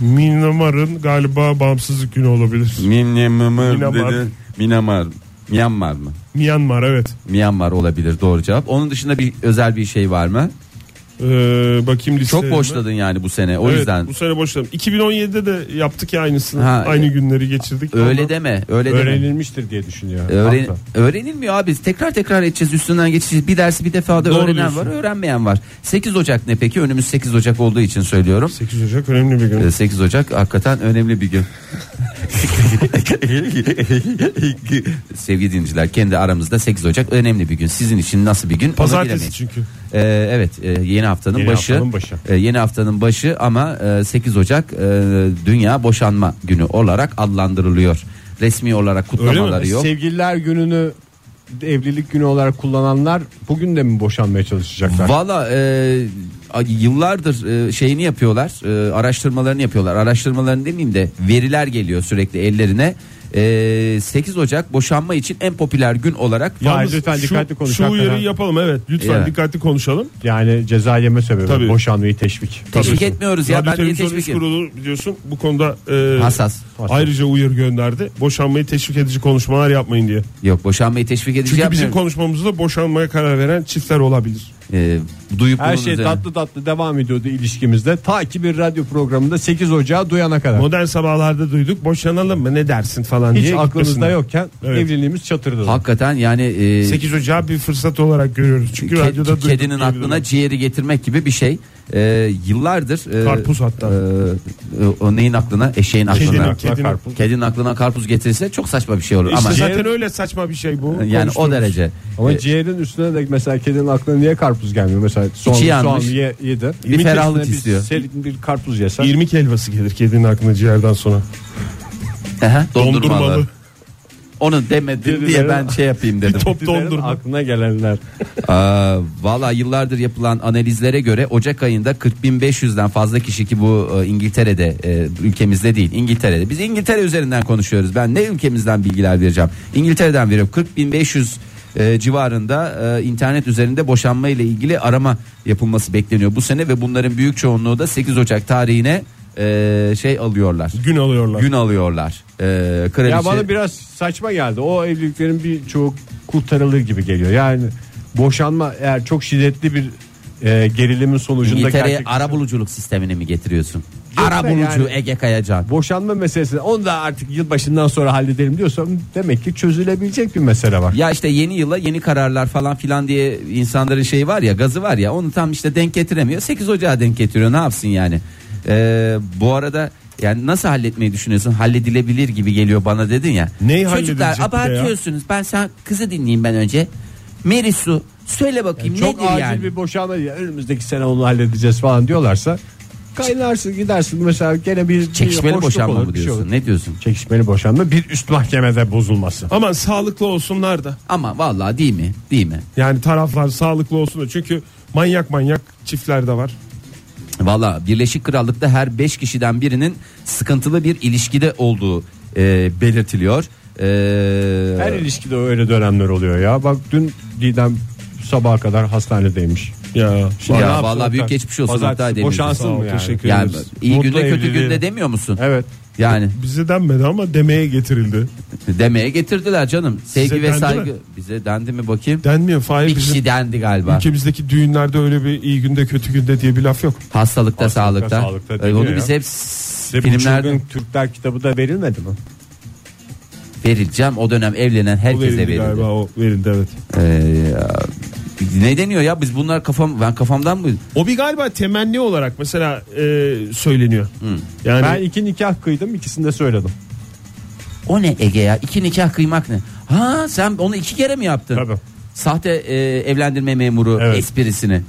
S4: Myanmar'ın galiba bağımsızlık günü olabilir.
S2: Myanmar
S4: Myanmar.
S2: dedi. Myanmar. Myanmar mı?
S4: Myanmar evet.
S2: Myanmar olabilir doğru cevap. Onun dışında bir özel bir şey var mı?
S4: Ee, bakayım listeye.
S2: Çok boşladın yani bu sene. O
S4: Şey Evet,
S2: yüzden
S4: bu sene boşladım. 2017'de de yaptık ya aynısını.
S2: Ha, e,
S4: Aynı günleri geçirdik.
S2: öyle
S4: Ondan-
S2: deme. Öyle deme.
S3: Öğrenilmiştir diye düşünüyor.
S2: Öğren-
S3: Hatta.
S2: öğrenilmiyor abi. Tekrar tekrar edeceğiz. Üstünden geçeceğiz. Bir dersi bir defa da
S4: Doğru
S2: öğrenen
S4: diyorsun.
S2: var, öğrenmeyen var. 8 Ocak ne peki? Önümüz 8 Ocak olduğu için söylüyorum.
S4: 8 Ocak önemli bir gün.
S2: Ee, 8 Ocak hakikaten önemli bir gün. Sevgili dinleyiciler kendi aramızda 8 Ocak önemli bir gün. Sizin için nasıl bir gün? onu
S4: Pazartesi
S2: bilemeyiz.
S4: çünkü.
S2: Ee, evet e, yeni haftanın
S3: Yeni
S2: başı.
S3: haftanın başı.
S2: E, yeni haftanın başı ama e, 8 Ocak e, Dünya Boşanma Günü olarak adlandırılıyor. Resmi olarak kutlamaları yok.
S3: Sevgililer gününü evlilik günü olarak kullananlar bugün de mi boşanmaya çalışacaklar?
S2: Valla e, a- yıllardır e, şeyini yapıyorlar e, araştırmalarını yapıyorlar araştırmalarını demeyeyim de veriler geliyor sürekli ellerine. E, 8 Ocak boşanma için en popüler gün olarak
S3: Hayır, lütfen dikkatli
S4: şu,
S3: konuşalım.
S4: şu uyarıyı
S3: Hakikaten.
S4: yapalım evet. Lütfen
S2: Evet.
S4: dikkatli konuşalım.
S3: Yani ceza yeme sebebi
S4: Tabii.
S3: boşanmayı teşvik.
S2: teşvik
S4: Tabii.
S2: etmiyoruz ya
S4: Radyo
S2: ben niye
S4: Televizyon
S2: teşvik
S4: İş
S2: ediyorum?
S4: kurulu biliyorsun bu konuda e,
S2: Hassas.
S4: ayrıca uyarı gönderdi. Boşanmayı teşvik edici konuşmalar yapmayın diye.
S2: Yok boşanmayı teşvik edici
S4: Çünkü bizim
S2: yapmıyorum.
S4: konuşmamızda boşanmaya karar veren çiftler olabilir.
S2: E, duyup
S3: Her
S2: bunun
S3: şey
S2: üzerine-
S3: tatlı tatlı devam ediyordu ilişkimizde. Ta ki bir radyo programında 8 Ocağı duyana kadar.
S4: Modern sabahlarda duyduk boşanalım mı ne dersin falan
S3: Hiç
S4: diye.
S3: aklımızda
S4: gitmesinler.
S3: yokken
S4: Evet.
S3: evliliğimiz çatırdı.
S2: Hakikaten yani e,
S4: 8 Ocağı bir fırsat olarak görüyoruz. Çünkü
S2: ke-
S4: radyoda duyduk
S2: kedinin
S4: diyebilirim.
S2: aklına ciğeri getirmek gibi bir şey. e, yıllardır e,
S4: Karpuz hatta.
S2: e, e, o neyin aklına eşeğin aklına
S4: Kedinin,
S2: kedinin,
S4: kedinin.
S2: aklına karpuz getirirse çok saçma bir şey olur
S4: İşte
S2: ama
S4: zaten öyle saçma bir şey bu.
S2: Ee, yani o derece
S3: Ama
S2: E,
S3: ciğerin üstüne de mesela kedinin aklına niye karpuz gelmiyor? Mesela soğan,
S2: İçi
S3: soğan
S2: yanmış.
S3: ye, yedi.
S2: Bir ferahlık
S3: üstüne bir
S2: istiyor.
S3: Serin bir karpuz yesen.
S4: İrmik helvası gelir kedinin aklına ciğerden sonra.
S2: ehe,
S4: Dondurmalı.
S2: dondurmalı onu demedim diye ben şey yapayım dedim
S4: Top dondurma.
S3: Aklına gelenler.
S2: Aa, Valla yıllardır yapılan analizlere göre Ocak ayında 40.500'den fazla kişi ki bu e, İngiltere'de e, ülkemizde değil İngiltere'de. Biz İngiltere üzerinden konuşuyoruz. Ben ne ülkemizden bilgiler vereceğim. İngiltere'den veriyorum. 40.500 e, civarında e, internet üzerinde boşanma ile ilgili arama yapılması bekleniyor bu sene ve bunların büyük çoğunluğu da 8 Ocak tarihine e, şey alıyorlar.
S4: Gün alıyorlar.
S2: Gün alıyorlar. E, kraliçe...
S3: Ya bana biraz saçma geldi. O evliliklerin birçoğu kurtarılır gibi geliyor. Yani boşanma eğer çok şiddetli bir e, gerilimin sonucunda
S2: İngiltere'ye
S3: gerçekleşen-
S2: ara buluculuk sistemini mi getiriyorsun?
S3: Yoksa
S2: Ara bulucu
S3: yani-
S2: Ege Kayacan.
S3: boşanma meselesini onu da artık yılbaşından sonra halledelim diyorsam demek ki çözülebilecek bir mesele var.
S2: Ya işte yeni yıla yeni kararlar falan filan diye insanların şeyi var ya gazı var ya onu tam işte denk getiremiyor. 8 Ocağı denk getiriyor ne yapsın yani. Ee, bu arada yani nasıl halletmeyi düşünüyorsun? Halledilebilir gibi geliyor bana dedin ya.
S4: Neyi
S2: Çocuklar
S4: halledilecek bir de ya?
S2: abartıyorsunuz. Ben sen kızı dinleyeyim ben önce. Merisu söyle bakayım
S3: Çok
S2: nedir
S3: acil
S2: yani?
S3: bir şey boşanma ya önümüzdeki sene onu halledeceğiz falan diyorlarsa kaynarsın gidersin mesela gene bir bir
S2: Çekişmeli
S3: hoşluk
S2: boşanma
S3: olur,
S2: mı
S3: bir şey
S2: diyorsun?
S3: olur.
S2: ne diyorsun?
S3: Çekişmeli boşanma bir üst mahkemede bozulması.
S4: Aman sağlıklı olsunlar da.
S2: Ama vallahi değil mi? Değil mi?
S4: Yani taraflar sağlıklı olsun da. Çünkü manyak manyak çiftler de var.
S2: Valla Birleşik Krallık'ta her 5 kişiden birinin sıkıntılı bir ilişkide olduğu e, belirtiliyor. E,
S3: Her ilişkide öyle dönemler oluyor ya. Bak dün Didem sabaha kadar hastanedeymiş.
S4: Ya.
S3: Vallahi
S2: ya
S3: ne yapsın
S2: vallahi büyük
S3: Oktay?
S2: geçmiş olsun
S3: Pazartesi
S2: Oktay Demirci.
S3: boşansın
S4: Sağ ol,
S3: mı yani?
S4: teşekkür
S2: yani
S4: ederiz.
S2: iyi
S3: Mutlu
S2: günde kötü
S3: evliliği.
S2: günde demiyor musun?
S3: Evet.
S2: Yani
S4: Bize denmedi ama demeye getirildi.
S2: demeye getirdiler canım. Sevgi
S4: Size
S2: ve
S4: dendi
S2: saygı
S4: mi?
S2: bize dendi mi bakayım?
S4: Denmiyor. Fahir
S2: bir
S4: bizim
S2: kişi dendi galiba.
S4: ülkemizdeki düğünlerde öyle bir iyi günde kötü günde diye bir laf yok.
S2: Hastalıkta, sağlıkta.
S3: sağlıkta
S2: E,
S3: deniyor
S2: Onu
S3: ya.
S2: biz hep
S3: Ve bu
S2: filmlerde
S3: çılgın Türkler kitabı da verilmedi mi?
S2: verileceğim. O dönem evlenen
S4: O
S2: herkese
S4: verildi
S2: verildi.
S4: galiba o verildi evet.
S2: E, ya, ne deniyor ya biz bunlar kafam ben kafamdan mı
S4: O bir galiba temenni olarak mesela e, söyleniyor.
S2: Hani-
S4: Yani
S3: Ben iki nikah kıydım ikisini de söyledim.
S2: O ne Ege ya? İki nikah kıymak ne? Ha sen onu iki kere mi yaptın?
S3: Tabii.
S2: Sahte e, evlendirme memuru
S3: Evet.
S2: esprisini.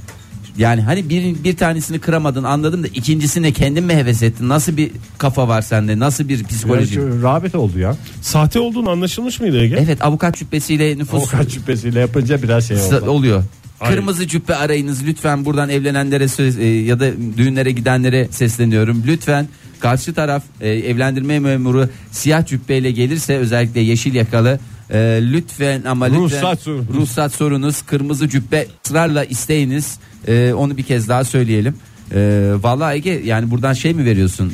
S2: Yani hani bir, bir tanesini kıramadın anladım da ikincisine kendin mi heves ettin? Nasıl bir kafa var sende? Nasıl bir psikoloji?
S3: Böylece rağbet oldu ya.
S4: sahte olduğunu anlaşılmış mıydı Ege?
S2: Evet avukat cübbesiyle nüfus
S3: Avukat şüphesiyle yapınca biraz şey
S2: sa-
S3: oldu.
S2: oluyor.
S4: Hayır.
S2: Kırmızı cübbe arayınız lütfen buradan evlenenlere söz, e, ya da düğünlere gidenlere sesleniyorum. Lütfen karşı taraf e, evlendirme memuru siyah cübbeyle gelirse özellikle yeşil yakalı e, lütfen ama lütfen
S3: Ruhsat sorunuz.
S2: ruhsat sorunuz kırmızı cübbe ısrarla isteyiniz. E, onu bir kez daha söyleyelim. E, vallahi Ege yani buradan şey mi veriyorsun?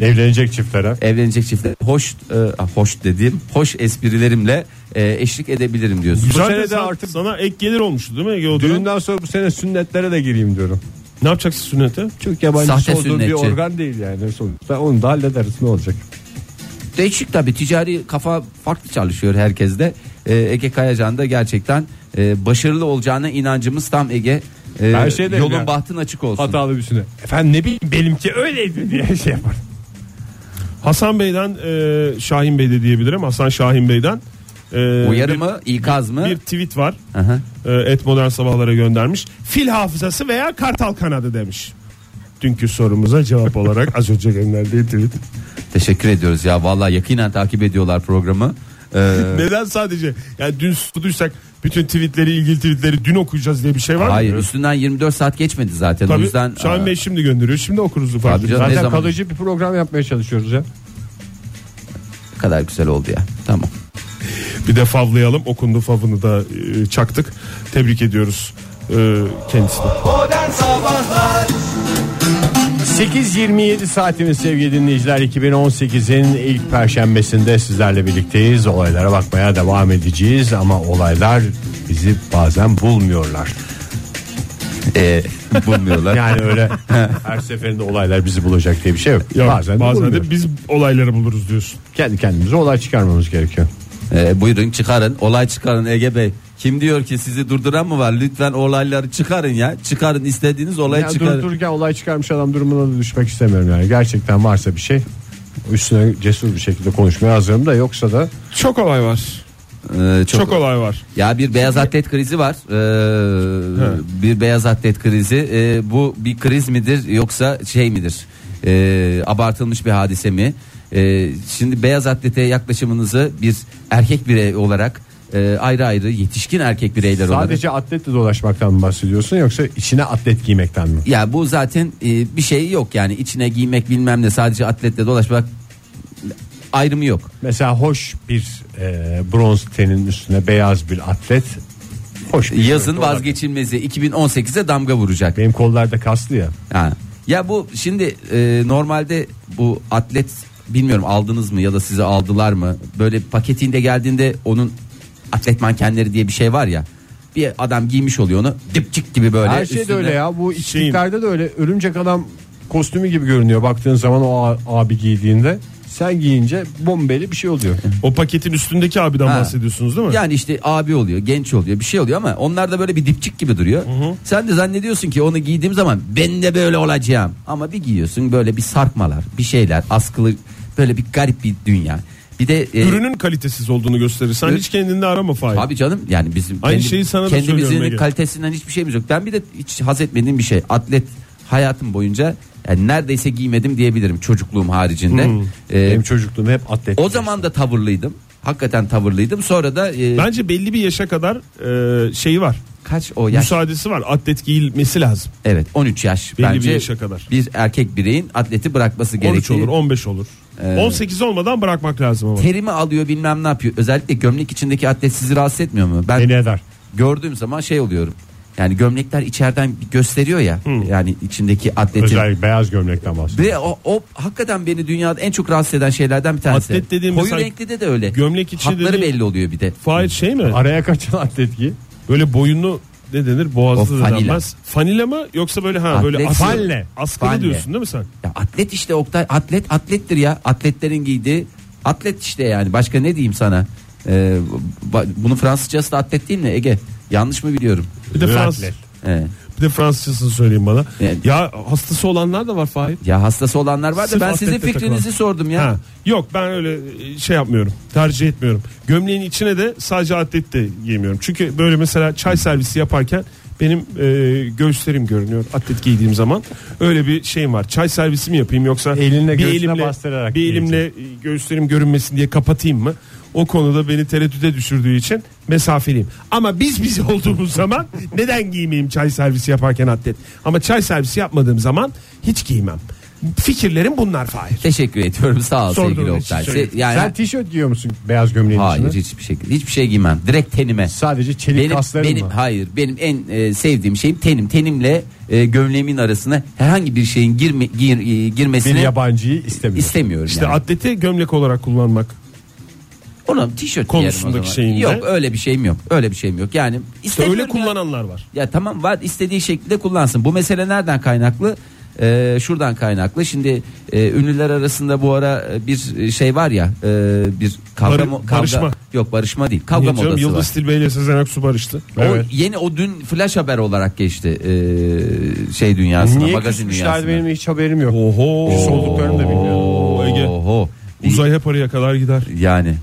S2: E,
S3: Evlenecek çiftlere.
S2: evlenecek çiftler hoş e, hoş dediğim hoş esprilerimle e, eşlik edebilirim diyorsun.
S4: Güzel
S3: Bu sene
S4: de
S3: de
S4: sen-
S3: artık-
S4: sana ek gelir olmuştu değil mi Ege? o dönem?
S3: Düğünden sonra bu sene sünnetlere de gireyim diyorum.
S4: Ne yapacaksın sünnete?
S3: Çok yabancı
S2: Sahte
S3: olduğum bir
S2: sünnetçi.
S3: organ değil yani sonuçta. Onu da hallederiz ne olacak?
S2: Değişik tabii ticari kafa farklı çalışıyor herkeste. Ee, Ege Kayacan da gerçekten e, başarılı olacağına inancımız tam Ege. Ee,
S3: Her şey derim
S2: yolun
S3: ya.
S2: bahtın açık olsun.
S3: Hatalı bir sünnet. Efendim ne bileyim benimki öyleydi diye şey yapar.
S4: Hasan Bey'den e, Şahin Bey de diyebilirim. Hasan Şahin Bey'den e,
S2: Uyarı
S4: bir-
S2: mı, ikaz mı?
S4: Bir tweet var.
S2: Aha.
S4: E, Et Modern Sabahlara göndermiş. Fil hafızası veya kartal kanadı demiş. Dünkü sorumuza cevap olarak az önce gönderdiği tweet.
S2: Teşekkür ediyoruz ya. Vallahi yakinen takip ediyorlar programı. Ee,
S4: Neden sadece? Yani dün sorduysak bütün tweetleri ilgili tweetleri dün okuyacağız diye bir şey var
S2: hayır,
S4: mı?
S2: üstünden 24 saat geçmedi zaten. o
S4: Tabii
S2: yüzden
S4: Şahin
S2: e,
S4: Bey şimdi gönderiyor. Şimdi okuruz ufak.
S2: Tabii canım. Ne
S3: Zaten
S2: zaman-
S3: kalıcı bir program yapmaya çalışıyoruz ya.
S2: ne kadar güzel oldu ya. Tamam.
S4: Bir de favlayalım. Okundu favını da e, çaktık. Tebrik ediyoruz e, kendisini.
S3: 8.27 saatimiz sevgili dinleyiciler 2018'in ilk perşembesinde sizlerle birlikteyiz. Olaylara bakmaya devam edeceğiz ama olaylar bizi bazen bulmuyorlar.
S2: Ee, bulmuyorlar.
S3: Yani öyle her seferinde olaylar bizi bulacak diye bir şey yok.
S4: Ya,
S3: bazen de
S4: bazen
S3: bulmuyor.
S4: de biz olayları buluruz diyorsun.
S3: kendi kendimize olay çıkarmamız gerekiyor.
S2: Ee, buyurun çıkarın. Olay çıkarın Ege Bey. Kim diyor ki sizi durduran mı var? Lütfen olayları çıkarın ya. Çıkarın istediğiniz olayı
S3: Yani
S2: çıkarın.
S3: durup dururken olay çıkarmış adam durumuna da düşmek istemiyorum yani. Gerçekten varsa bir şey üstüne cesur bir şekilde konuşmaya hazırım da yoksa da
S4: Çok olay var.
S2: Ee,
S4: Çok,
S2: çok,
S4: olay var.
S2: Ya bir beyaz atlet krizi var. Ee, bir beyaz atlet krizi. Ee, bu bir kriz midir yoksa şey midir? Ee, abartılmış bir hadise mi? Ee, şimdi beyaz atlete yaklaşımınızı bir erkek birey olarak e, ayrı ayrı yetişkin erkek bireyler olarak.
S3: sadece atletle dolaşmaktan mı bahsediyorsun yoksa içine atlet giymekten mi?
S2: Ya bu zaten e, bir şey yok yani içine giymek bilmem ne sadece atletle dolaşmak ayrımı yok.
S3: Mesela hoş bir e, bronz tenin üstüne beyaz bir atlet hoş bir
S2: Yazın
S3: şey. Olabilir.
S2: vazgeçilmezi 2018'e damga vuracak.
S3: Benim kollarda kaslı ya.
S2: Ha. Ya bu şimdi e, normalde bu atlet bilmiyorum aldınız mı ya da size aldılar mı? Böyle paketinde geldiğinde onun atlet mankenleri diye bir şey var ya. Bir adam giymiş oluyor onu dipçik gibi böyle.
S3: Her şey de
S2: üstünde.
S3: öyle ya. Bu içliklerde de öyle. Örümcek adam kostümü gibi görünüyor. Baktığın zaman o a- abi giydiğinde sen giyince bombeli bir şey oluyor.
S4: O paketin üstündeki abiden
S2: Ha.
S4: bahsediyorsunuz değil mi?
S2: Yani işte abi oluyor, genç oluyor, bir şey oluyor ama onlar da böyle bir dipçik gibi duruyor. Sen de zannediyorsun ki onu giydiğim zaman ben de böyle olacağım. Ama bir giyiyorsun böyle bir sarkmalar, bir şeyler, askılı böyle bir garip bir dünya. Bir de e,
S4: Ürünün kalitesiz olduğunu gösterir. Sen
S2: Ürün-
S4: hiç kendinde arama Fahir.
S2: Abi canım yani bizim
S4: Aynı şeyi sana da söylüyorum
S2: kendimizin
S4: Ege.
S2: kalitesinden hiçbir şeyimiz yok. Ben bir de hiç haz etmediğim bir şey. Atlet hayatım boyunca yani neredeyse giymedim diyebilirim çocukluğum haricinde.
S4: Hmm.
S2: Ee,
S3: Benim çocukluğum hep atlet.
S2: o zaman da tavırlıydım. Hakikaten tavırlıydım. Sonra da e,
S4: Bence belli bir yaşa kadar e, şeyi var.
S2: kaç o yaş?
S4: Müsaadesi var. Atlet giyilmesi lazım.
S2: Evet 13 yaş.
S4: Belli bir
S2: Bence
S4: yaşa kadar.
S2: bir erkek bireyin atleti bırakması
S4: 13
S2: gerekiyor.
S4: olur, 15 olur.
S2: E,
S4: 18 olmadan bırakmak lazım ama.
S2: Terimi alıyor bilmem ne yapıyor. Özellikle gömlek içindeki atlet sizi rahatsız etmiyor mu? Ben
S3: Beni eder.
S2: gördüğüm zaman şey oluyorum. Yani gömlekler içeriden gösteriyor ya.
S4: Hmm.
S2: Yani içindeki atletin.
S3: Özellikle beyaz gömlekten bahsediyorum.
S2: Ve o, o hakikaten beni dünyada en çok rahatsız eden şeylerden bir tanesi.
S4: Atlet dediğimiz
S2: Koyu
S4: hani
S2: renkli de de öyle.
S4: gömlek içi
S2: Hatları
S4: dediğin-
S2: belli oluyor bir de.
S4: Fahir şey mi?
S3: Araya kaçan atlet giy.
S4: Böyle boyunlu ne denir?
S2: O
S4: Boğazlı da
S2: fanila.
S4: denmez. Fanila mı yoksa böyle ha
S2: Atlet-
S4: böyle askılı,
S2: Falle.
S4: askılı
S2: Falle.
S4: diyorsun değil mi sen?
S2: Ya atlet işte Oktay. Atlet atlettir ya. Atletlerin giydiği atlet işte yani. Başka ne diyeyim sana? Ee, ba- bunun Fransızcası da atlet değil mi Ege? Yanlış mı biliyorum?
S4: Bir de
S3: Atlet.
S4: Fransız.
S2: Ee,
S4: Bir de Fransızcasını söyleyeyim bana.
S2: Yani-
S4: Ya hastası olanlar da var Fahir.
S2: ya hastası olanlar var da
S4: Sırf
S2: ben sizin
S4: atletle
S2: fikrinizi
S4: takılan.
S2: sordum ya.
S4: Ha, yok ben öyle şey yapmıyorum. Tercih etmiyorum. Gömleğin içine de sadece atlet de giymiyorum. Çünkü böyle mesela çay servisi yaparken benim e, göğüslerim görünüyor atlet giydiğim zaman. Öyle bir şeyim var. Çay servisi mi yapayım yoksa
S3: Elinle
S4: bir
S3: göğsüne
S4: elimle
S3: bastırarak
S4: bir elimle e, göğüslerim görünmesin diye kapatayım mı? O konuda beni tereddüte düşürdüğü için mesafeliyim. Ama biz biz olduğumuz zaman neden giymeyeyim çay servisi yaparken atlet? Ama çay servisi yapmadığım zaman hiç giymem. Fikirlerim bunlar Fahir.
S2: Teşekkür ediyorum. Sağ ol
S4: Sorduğun
S2: sevgili
S4: için
S2: Oktay.
S4: söyleyeyim.
S2: Se- yani
S3: Sen tişört giyiyor musun beyaz gömleğin
S2: hayır
S3: içine?
S2: hiçbir şekilde hiçbir şey giymem. Direkt tenime.
S3: Sadece çelik
S2: benim
S3: kasların
S2: benim
S3: mı?
S2: hayır benim en e, sevdiğim şeyim tenim tenimle e, gömleğimin arasına herhangi bir şeyin girme gir, e,
S3: Bir
S2: girmesini
S3: yabancıyı istemiyor.
S2: istemiyorum
S4: İşte
S2: yani.
S4: atleti gömlek olarak kullanmak.
S2: Ona tişört
S4: konusundaki
S2: giyerim o
S4: şeyinde-
S2: zaman. Yok öyle bir şeyim yok. Öyle bir şeyim yok. Yani
S4: İşte
S2: istemiyorum
S4: öyle
S2: ya.
S4: kullananlar var.
S2: Ya tamam var istediği şekilde kullansın. Bu mesele nereden kaynaklı? Ee, şuradan kaynaklı. Şimdi e, ünlüler arasında bu ara e, bir şey var ya e, bir kavga,
S4: Barı-
S2: mo- kavga-
S4: barışma.
S2: yok barışma değil kavga
S4: Niye canım?
S2: modası var.
S4: Yıldız Tilbe ile Sezen Aksu barıştı.
S2: O
S4: Evet.
S2: yeni o dün flash haber olarak geçti ee, şey dünyasına
S3: Niye
S2: magazin
S3: küsmüşlerdi
S2: dünyasına.
S3: benim hiç haberim yok.
S4: Oho.
S3: Küs olduklarını da bilmiyorum.
S4: Oo, Ege.
S2: Oho.
S4: Uzay hep oraya kadar gider.
S2: Yani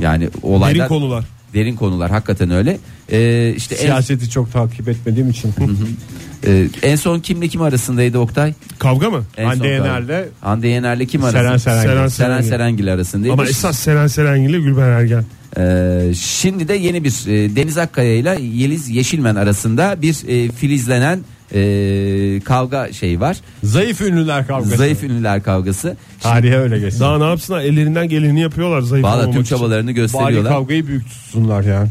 S2: yani olaylar
S4: Derin konular.
S2: derin konular hakikaten öyle. Ee, işte en,
S3: Siyaseti çok takip etmediğim için.
S2: e, en son kimle kim arasındaydı Oktay?
S4: Kavga mı?
S2: En
S3: Hande
S2: son galiba.
S3: Yener'le
S2: Hande Yener'le kim
S3: Seren
S2: arasında?
S3: Serengil.
S2: Seren,
S4: Seren
S2: Serengil arasındaydı.
S4: Ama esas Seren Serengil ile Gülben Ergen.
S2: Ee, şimdi de yeni bir e, Deniz Akkaya ile Yeliz Yeşilmen arasında bir e, filizlenen e, kavga şeyi var.
S3: Zayıf ünlüler kavgası.
S2: Zayıf ünlüler kavgası.
S3: Tarihe öyle geçsin.
S4: Daha ne yapsınlar? Ellerinden geleni yapıyorlar zayıf
S2: Valla
S4: olmamak
S2: tüm
S4: için.
S2: çabalarını
S3: Bari
S2: gösteriyorlar.
S3: kavgayı büyük tutsunlar yani.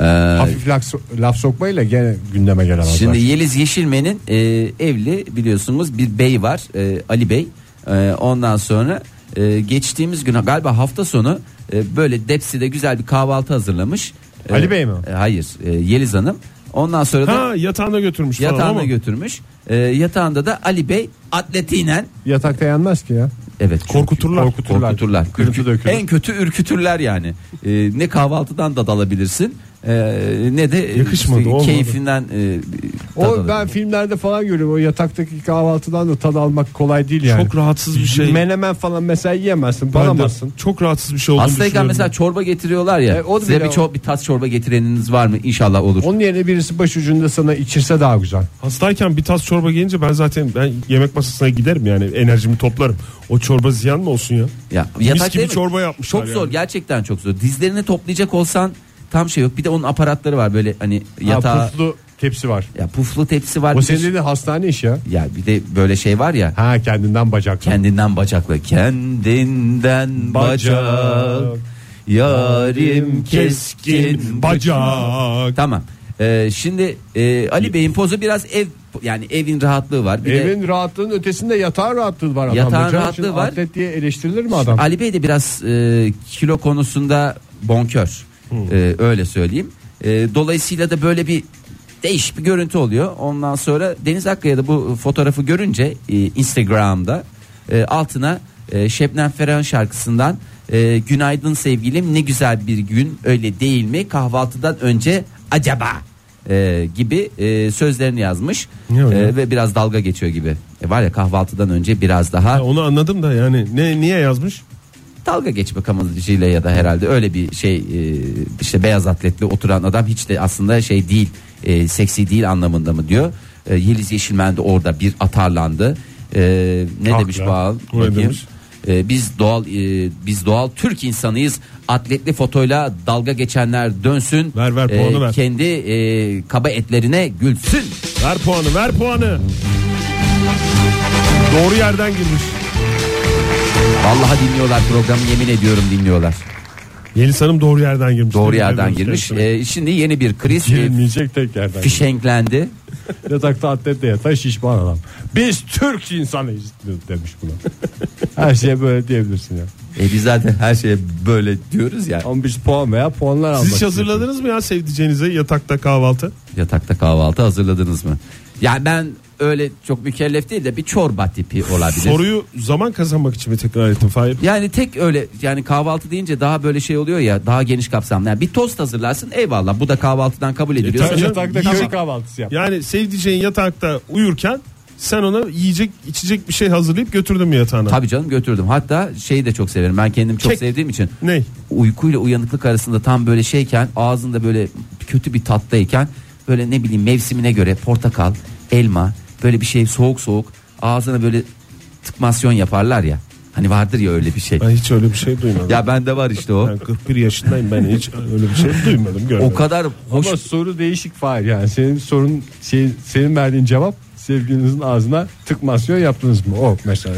S2: Ee,
S3: Hafif laf, laf sokmayla gene gündeme gelemezler.
S2: Şimdi Yeliz Yeşilmen'in e, evli biliyorsunuz bir bey var e, Ali Bey. E, ondan sonra e, geçtiğimiz gün galiba hafta sonu e, böyle Depsi'de güzel bir kahvaltı hazırlamış. E,
S3: Ali Bey mi?
S2: e, hayır e, Yeliz Hanım. Ondan sonra da
S4: Ha yatağına götürmüş falan ama.
S2: yatağına götürmüş. E, yatağında da Ali Bey atletiyle
S3: Yatakta yanmaz ki ya.
S2: Evet. çünkü-
S4: Korkuturlar.
S2: Korkuturlar.
S3: Kırıntı
S2: Ürkü-
S3: dökülür.
S2: en kötü ürkütürler yani. E, ne kahvaltıdan Ee, da dalabilirsin. Ee, ne de
S4: Yakışmadı, olmadı.
S2: keyfinden e,
S3: O
S2: tad
S3: ben
S2: alıyor.
S3: filmlerde falan görüyorum. O yataktaki kahvaltıdan da tad almak kolay değil yani.
S4: Çok rahatsız bir şey.
S3: Menemen falan mesela yiyemezsin,
S4: Ben de
S3: balamazsın.
S4: Çok rahatsız bir şey olduğunu
S2: Hastayken
S4: düşünüyorum.
S2: mesela çorba getiriyorlar ya.
S3: E, o da
S2: size
S3: bile
S2: bir,
S3: o.
S2: ço- bir tas çorba getireniniz var mı? İnşallah olur.
S3: Onun yerine birisi başucunda sana içirse daha güzel.
S4: Hastayken bir tas çorba gelince ben zaten ben yemek masasına giderim yani enerjimi toplarım. O çorba ziyan mı olsun ya?
S2: Ya
S4: Mis gibi
S2: değil mi?
S4: çorba yapmışlar.
S2: Çok
S4: yani.
S2: zor gerçekten çok zor. Dizlerini toplayacak olsan tam şey yok. Bir de onun aparatları var böyle hani yatağa
S3: Ha, puflu tepsi var.
S2: ya puflu tepsi var.
S3: O
S2: Bir de-
S3: senin de hastane işi ya.
S2: Ya bir de böyle şey var ya.
S3: Ha kendinden bacak.
S2: Kendinden bacaklı kendinden bacak,
S3: Bacak.
S2: yarim keskin bacak. Tamam. Ee, şimdi e, Ali Bey'in pozu biraz ev yani evin rahatlığı var. Bir de-
S3: Evin rahatlığının ötesinde yatağın rahatlığı var. adamda.
S2: Yatağın
S3: Canım
S2: rahatlığı
S3: için
S2: var.
S3: Atlet diye eleştirilir mi adam?
S2: Ali Bey de biraz e, kilo konusunda bonkör. E, öyle söyleyeyim. E, dolayısıyla da böyle bir değişik bir görüntü oluyor. Ondan sonra Deniz Akkaya da bu fotoğrafı görünce e, Instagram'da e, altına e, Şebnem Ferah'ın şarkısından e, günaydın sevgilim ne güzel bir gün öyle değil mi kahvaltıdan önce acaba e, gibi e, sözlerini yazmış
S4: Ne o ya?
S2: E, ve biraz dalga geçiyor gibi. E, var ya kahvaltıdan önce biraz daha
S4: Ya onu anladım da yani ne niye yazmış?
S2: dalga geçmek amacıyla ya da herhalde öyle bir şey e, işte beyaz atletli oturan adam hiç de aslında şey değil e, seksi değil anlamında mı diyor. E, Yeliz Yeşilmen de orada bir atarlandı. E, ne
S4: Haklı.
S2: demiş Bağal?
S4: Ah Ne
S2: Bakayım.
S4: demiş?
S2: E, biz doğal e, biz doğal Türk insanıyız. Atletli fotoyla dalga geçenler dönsün.
S4: Ver, ver, puanı ver.
S2: Kendi e, kaba etlerine gülsün.
S4: Ver puanı, ver puanı. Doğru yerden girmiş.
S2: Vallahi dinliyorlar programı yemin ediyorum dinliyorlar.
S4: Yeliz Hanım doğru yerden girmiş.
S2: Doğru
S4: Tebrik
S2: yerden
S4: ediyoruz
S2: girmiş.
S4: kendisini.
S2: E, şimdi yeni bir kriz e,
S3: Girilmeyecek tek yerden.
S2: fişenklendi.
S3: Yatakta atletle yatan şişman adam. Biz Türk insanıyız demiş buna. Her şeye böyle diyebilirsin ya.
S2: E biz zaten her şeye böyle diyoruz ya.
S3: Ama biz puan veya puanlar
S2: E,
S3: almak.
S4: Siz hiç hazırladınız mı ya sevdiceğinize yatakta kahvaltı?
S2: Yatakta kahvaltı hazırladınız mı? Yani ben öyle çok mükellef değil de bir çorba tipi olabilir.
S4: Soruyu zaman kazanmak için mi tekrar ettin Fahir?
S2: Yani tek öyle yani kahvaltı deyince daha böyle şey oluyor ya daha geniş kapsamlı. Yani bir tost hazırlarsın eyvallah bu da kahvaltıdan kabul ediliyor.
S4: tabii
S3: istiyorsun.
S4: canım.
S3: E, Yatakta
S4: Tamam.
S3: köy kahvaltısı yap.
S4: Yani sevdiceğin yatakta uyurken sen ona yiyecek içecek bir şey hazırlayıp götürdün mü yatağına?
S2: Tabii canım götürdüm. Hatta şeyi de çok severim. Ben kendim çok
S4: Kek.
S2: sevdiğim için.
S4: Ne?
S2: Uykuyla uyanıklık arasında tam böyle şeyken ağzında böyle kötü bir tattayken böyle ne bileyim mevsimine göre portakal, elma böyle bir şey soğuk soğuk ağzına böyle tıkmasyon yaparlar ya. Hani vardır ya öyle bir şey.
S4: Ben hiç öyle bir şey duymadım.
S2: Ya bende var işte o.
S4: Ben 41 yaşındayım ben hiç öyle bir şey duymadım görmedim.
S2: O kadar hoş.
S3: Ama soru değişik Fahir yani senin sorun şey, senin verdiğin cevap sevgilinizin ağzına tıkmasıyor yaptınız mı? O mesela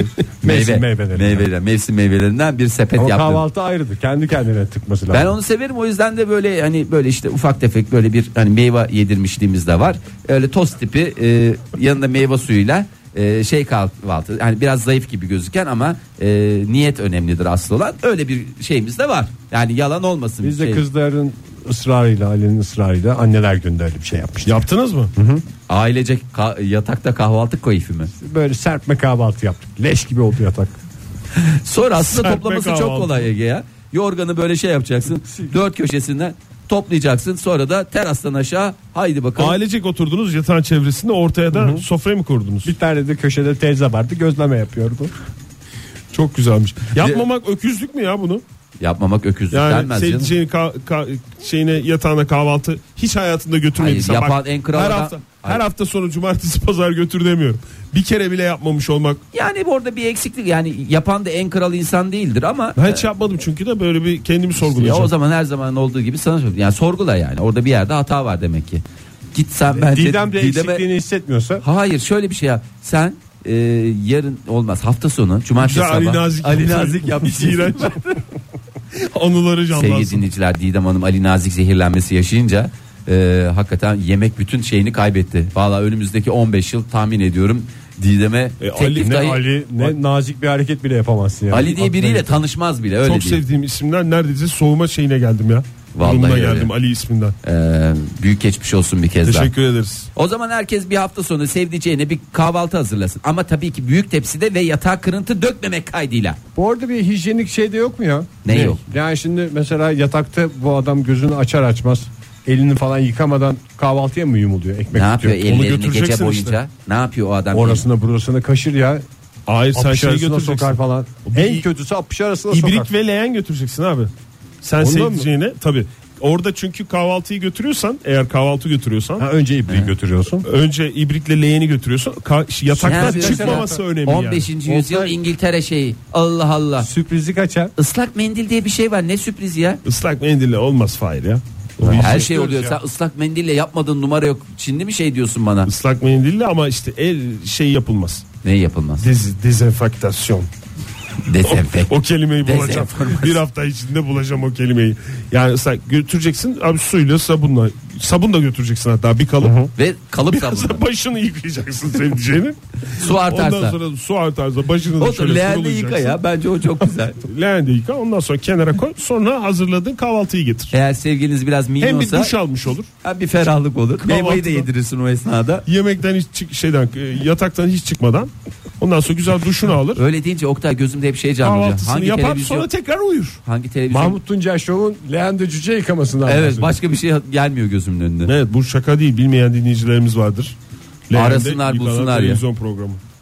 S2: meyve,
S3: meyve, meyveleri.
S2: meyveler, mevsim meyvelerinden bir sepet
S3: Ama
S2: yaptım.
S3: kahvaltı ayrıdır. Kendi kendine tıkması lazım.
S2: Ben onu severim o yüzden de böyle hani böyle işte ufak tefek böyle bir hani meyve yedirmişliğimiz de var. Öyle tost tipi e, yanında meyve suyuyla e, şey kahvaltı hani biraz zayıf gibi gözüken ama e, niyet önemlidir asıl olan. Öyle bir şeyimiz de var. Yani yalan olmasın.
S3: Biz de
S2: şey.
S3: kızların ısrarıyla ailenin ısrarıyla anneler günde öyle bir şey yapmıştık.
S4: Yaptınız mı?
S2: Ailecek ka- yatakta kahvaltı keyfi mi?
S3: Böyle serpme kahvaltı yaptık. Leş gibi oldu yatak.
S2: Sonra aslında
S4: Serpme
S2: toplaması çok
S4: kahvaltı.
S2: kolay Ege ya. Yorganı böyle şey yapacaksın. dört köşesinden toplayacaksın. Sonra da terastan aşağı haydi bakalım.
S4: Ailecek oturdunuz yatağın çevresinde ortaya da sofrayı mı kurdunuz?
S3: Bir tane de köşede teyze vardı gözleme yapıyordu.
S4: Çok güzelmiş. Yapmamak öküzlük mü ya bunu?
S2: Yapmamak öküzlük
S4: Yani
S2: denmez canım.
S4: sevdiceğin ka- ka- şeyine yatağına kahvaltı hiç hayatında götürmedi.
S2: Hayır, yapan en kral
S4: her
S2: adam-
S4: hafta, her
S2: Hayır.
S4: hafta sonu cumartesi pazar götür demiyorum. Bir kere bile yapmamış olmak.
S2: Yani orada bir eksiklik yani yapan da en kral insan değildir ama
S4: Ben hiç yapmadım çünkü de böyle bir kendimi
S2: ya
S4: sorgulayacağım.
S2: o zaman her zaman olduğu gibi sana söylüyorum. Yani sorgula yani orada bir yerde hata var demek ki. Git sen bence
S3: Didem de
S2: şey- Didem'e-
S3: eksikliğini hissetmiyorsa
S2: Hayır şöyle bir şey yap. Sen e, yarın olmaz hafta sonu cumartesi
S4: Güzel
S2: sabahı
S4: Ali Nazik.
S2: Ali Nazik yapmış.
S4: İğrenç. şey Anıları
S2: Sevgili
S4: canlansın.
S2: dinleyiciler Didem Hanım Ali Nazik zehirlenmesi yaşayınca e, hakikaten yemek bütün şeyini kaybetti. Valla önümüzdeki 15 yıl tahmin ediyorum Didem'e
S4: E, Ali-
S2: teklif
S4: ne
S2: dahi- Ali,
S3: Ali ne nazik bir hareket bile yapamazsın yani.
S2: diye biriyle tanışmaz bile öyle
S4: Çok
S2: diyeyim.
S4: sevdiğim isimler neredeyse soğuma şeyine geldim ya.
S2: Vallahi
S4: Durumuna
S2: öyle.
S4: geldim Ali isminden.
S2: E, büyük geçmiş olsun bir kez daha.
S4: Teşekkür ederiz.
S2: O zaman herkes bir hafta sonu sevdiceğine bir kahvaltı hazırlasın. Ama tabii ki büyük tepside ve yatağa kırıntı dökmemek kaydıyla.
S3: Bu arada bir hijyenik şey de yok mu ya?
S2: Ne yok?
S3: Yani şimdi mesela yatakta bu adam gözünü açar açmaz elini falan yıkamadan kahvaltıya mı yumuluyor ekmek
S2: Ne yapıyor
S3: tutuyor? Onu
S2: ellerini
S3: götüreceksin
S2: gece
S3: işte.
S2: boyunca? Ne yapıyor o adam?
S3: Orasına burasına kaşır ya.
S4: Hayır sen
S3: Apış
S4: şey
S3: arasına sokar
S4: götüreceksin.
S3: falan.
S4: Bir-
S3: En kötüsü apış arasına sokar.
S4: İbrik ve leğen götüreceksin abi. Sen
S3: Ondan
S4: sevdiceğine tabi. Orada çünkü kahvaltıyı götürüyorsan eğer kahvaltı götürüyorsan
S3: Ha, önce ibriği götürüyorsun.
S4: önce ibrikle leğeni götürüyorsun. Ka-
S2: Ne
S4: yataktan
S2: yapıyor?
S4: çıkmaması önemli
S2: 15.
S4: yani.
S2: yüzyıl İngiltere şeyi. Allah Allah.
S3: Sürprizi kaçar.
S2: Islak mendil diye bir şey var. Ne sürpriz ya?
S4: Islak mendille olmaz Fahir ya. O bir
S2: Her
S4: şey.
S2: şey oluyor. Sen ıslak mendille yapmadığın numara yok. Çinli mi şey diyorsun bana?
S4: Islak mendille ama işte el şey yapılmaz.
S2: Ne yapılmaz?
S4: Dez, dezenfektasyon.
S2: Dezenfek.
S4: O kelimeyi bulacağım.
S2: Dezenformasyon.
S4: Bir hafta içinde bulacağım o kelimeyi. Yani ıslak götüreceksin abi suyla sabunla. Sabun da götüreceksin hatta bir kalıp.
S2: Ve kalıp
S4: Biraz da
S2: sabunla.
S4: başını yıkayacaksın sevdiceğinin.
S2: Su
S4: Ondan
S2: artarsa.
S4: sonra su artarsa başını da
S2: O da
S4: şöyle
S2: leğende
S4: sulayacaksın.
S2: yıka ya. Bence o çok güzel.
S4: Leğende yıka ondan sonra kenara koy. Sonra hazırladığın kahvaltıyı getir.
S2: Eğer sevgiliniz biraz
S4: Hem bir
S2: minyonsa
S4: duş almış olur.
S2: hem bir ferahlık olur. Meyveyi de
S4: Kahvaltıda.
S2: yedirirsin o esnada.
S4: Yemekten hiç çık, şeyden e, yataktan hiç çıkmadan. Ondan sonra güzel duşunu alır.
S2: Öyle deyince Oktay gözümde hep şey canlanacak.
S4: Kahvaltısını
S2: Hangi
S4: yapar
S2: televizyon?
S4: sonra tekrar uyur.
S2: Hangi televizyon?
S3: Mahmut Tuncay Show'un leğende cüce yıkamasından
S2: Evet
S3: bahsediyor.
S2: başka bir şey gelmiyor gözümün önüne.
S4: Evet bu şaka değil bilmeyen dinleyicilerimiz vardır.
S2: Arasınlar,
S4: yıkanan
S2: bulsunlar ya.
S4: Televizyon programı.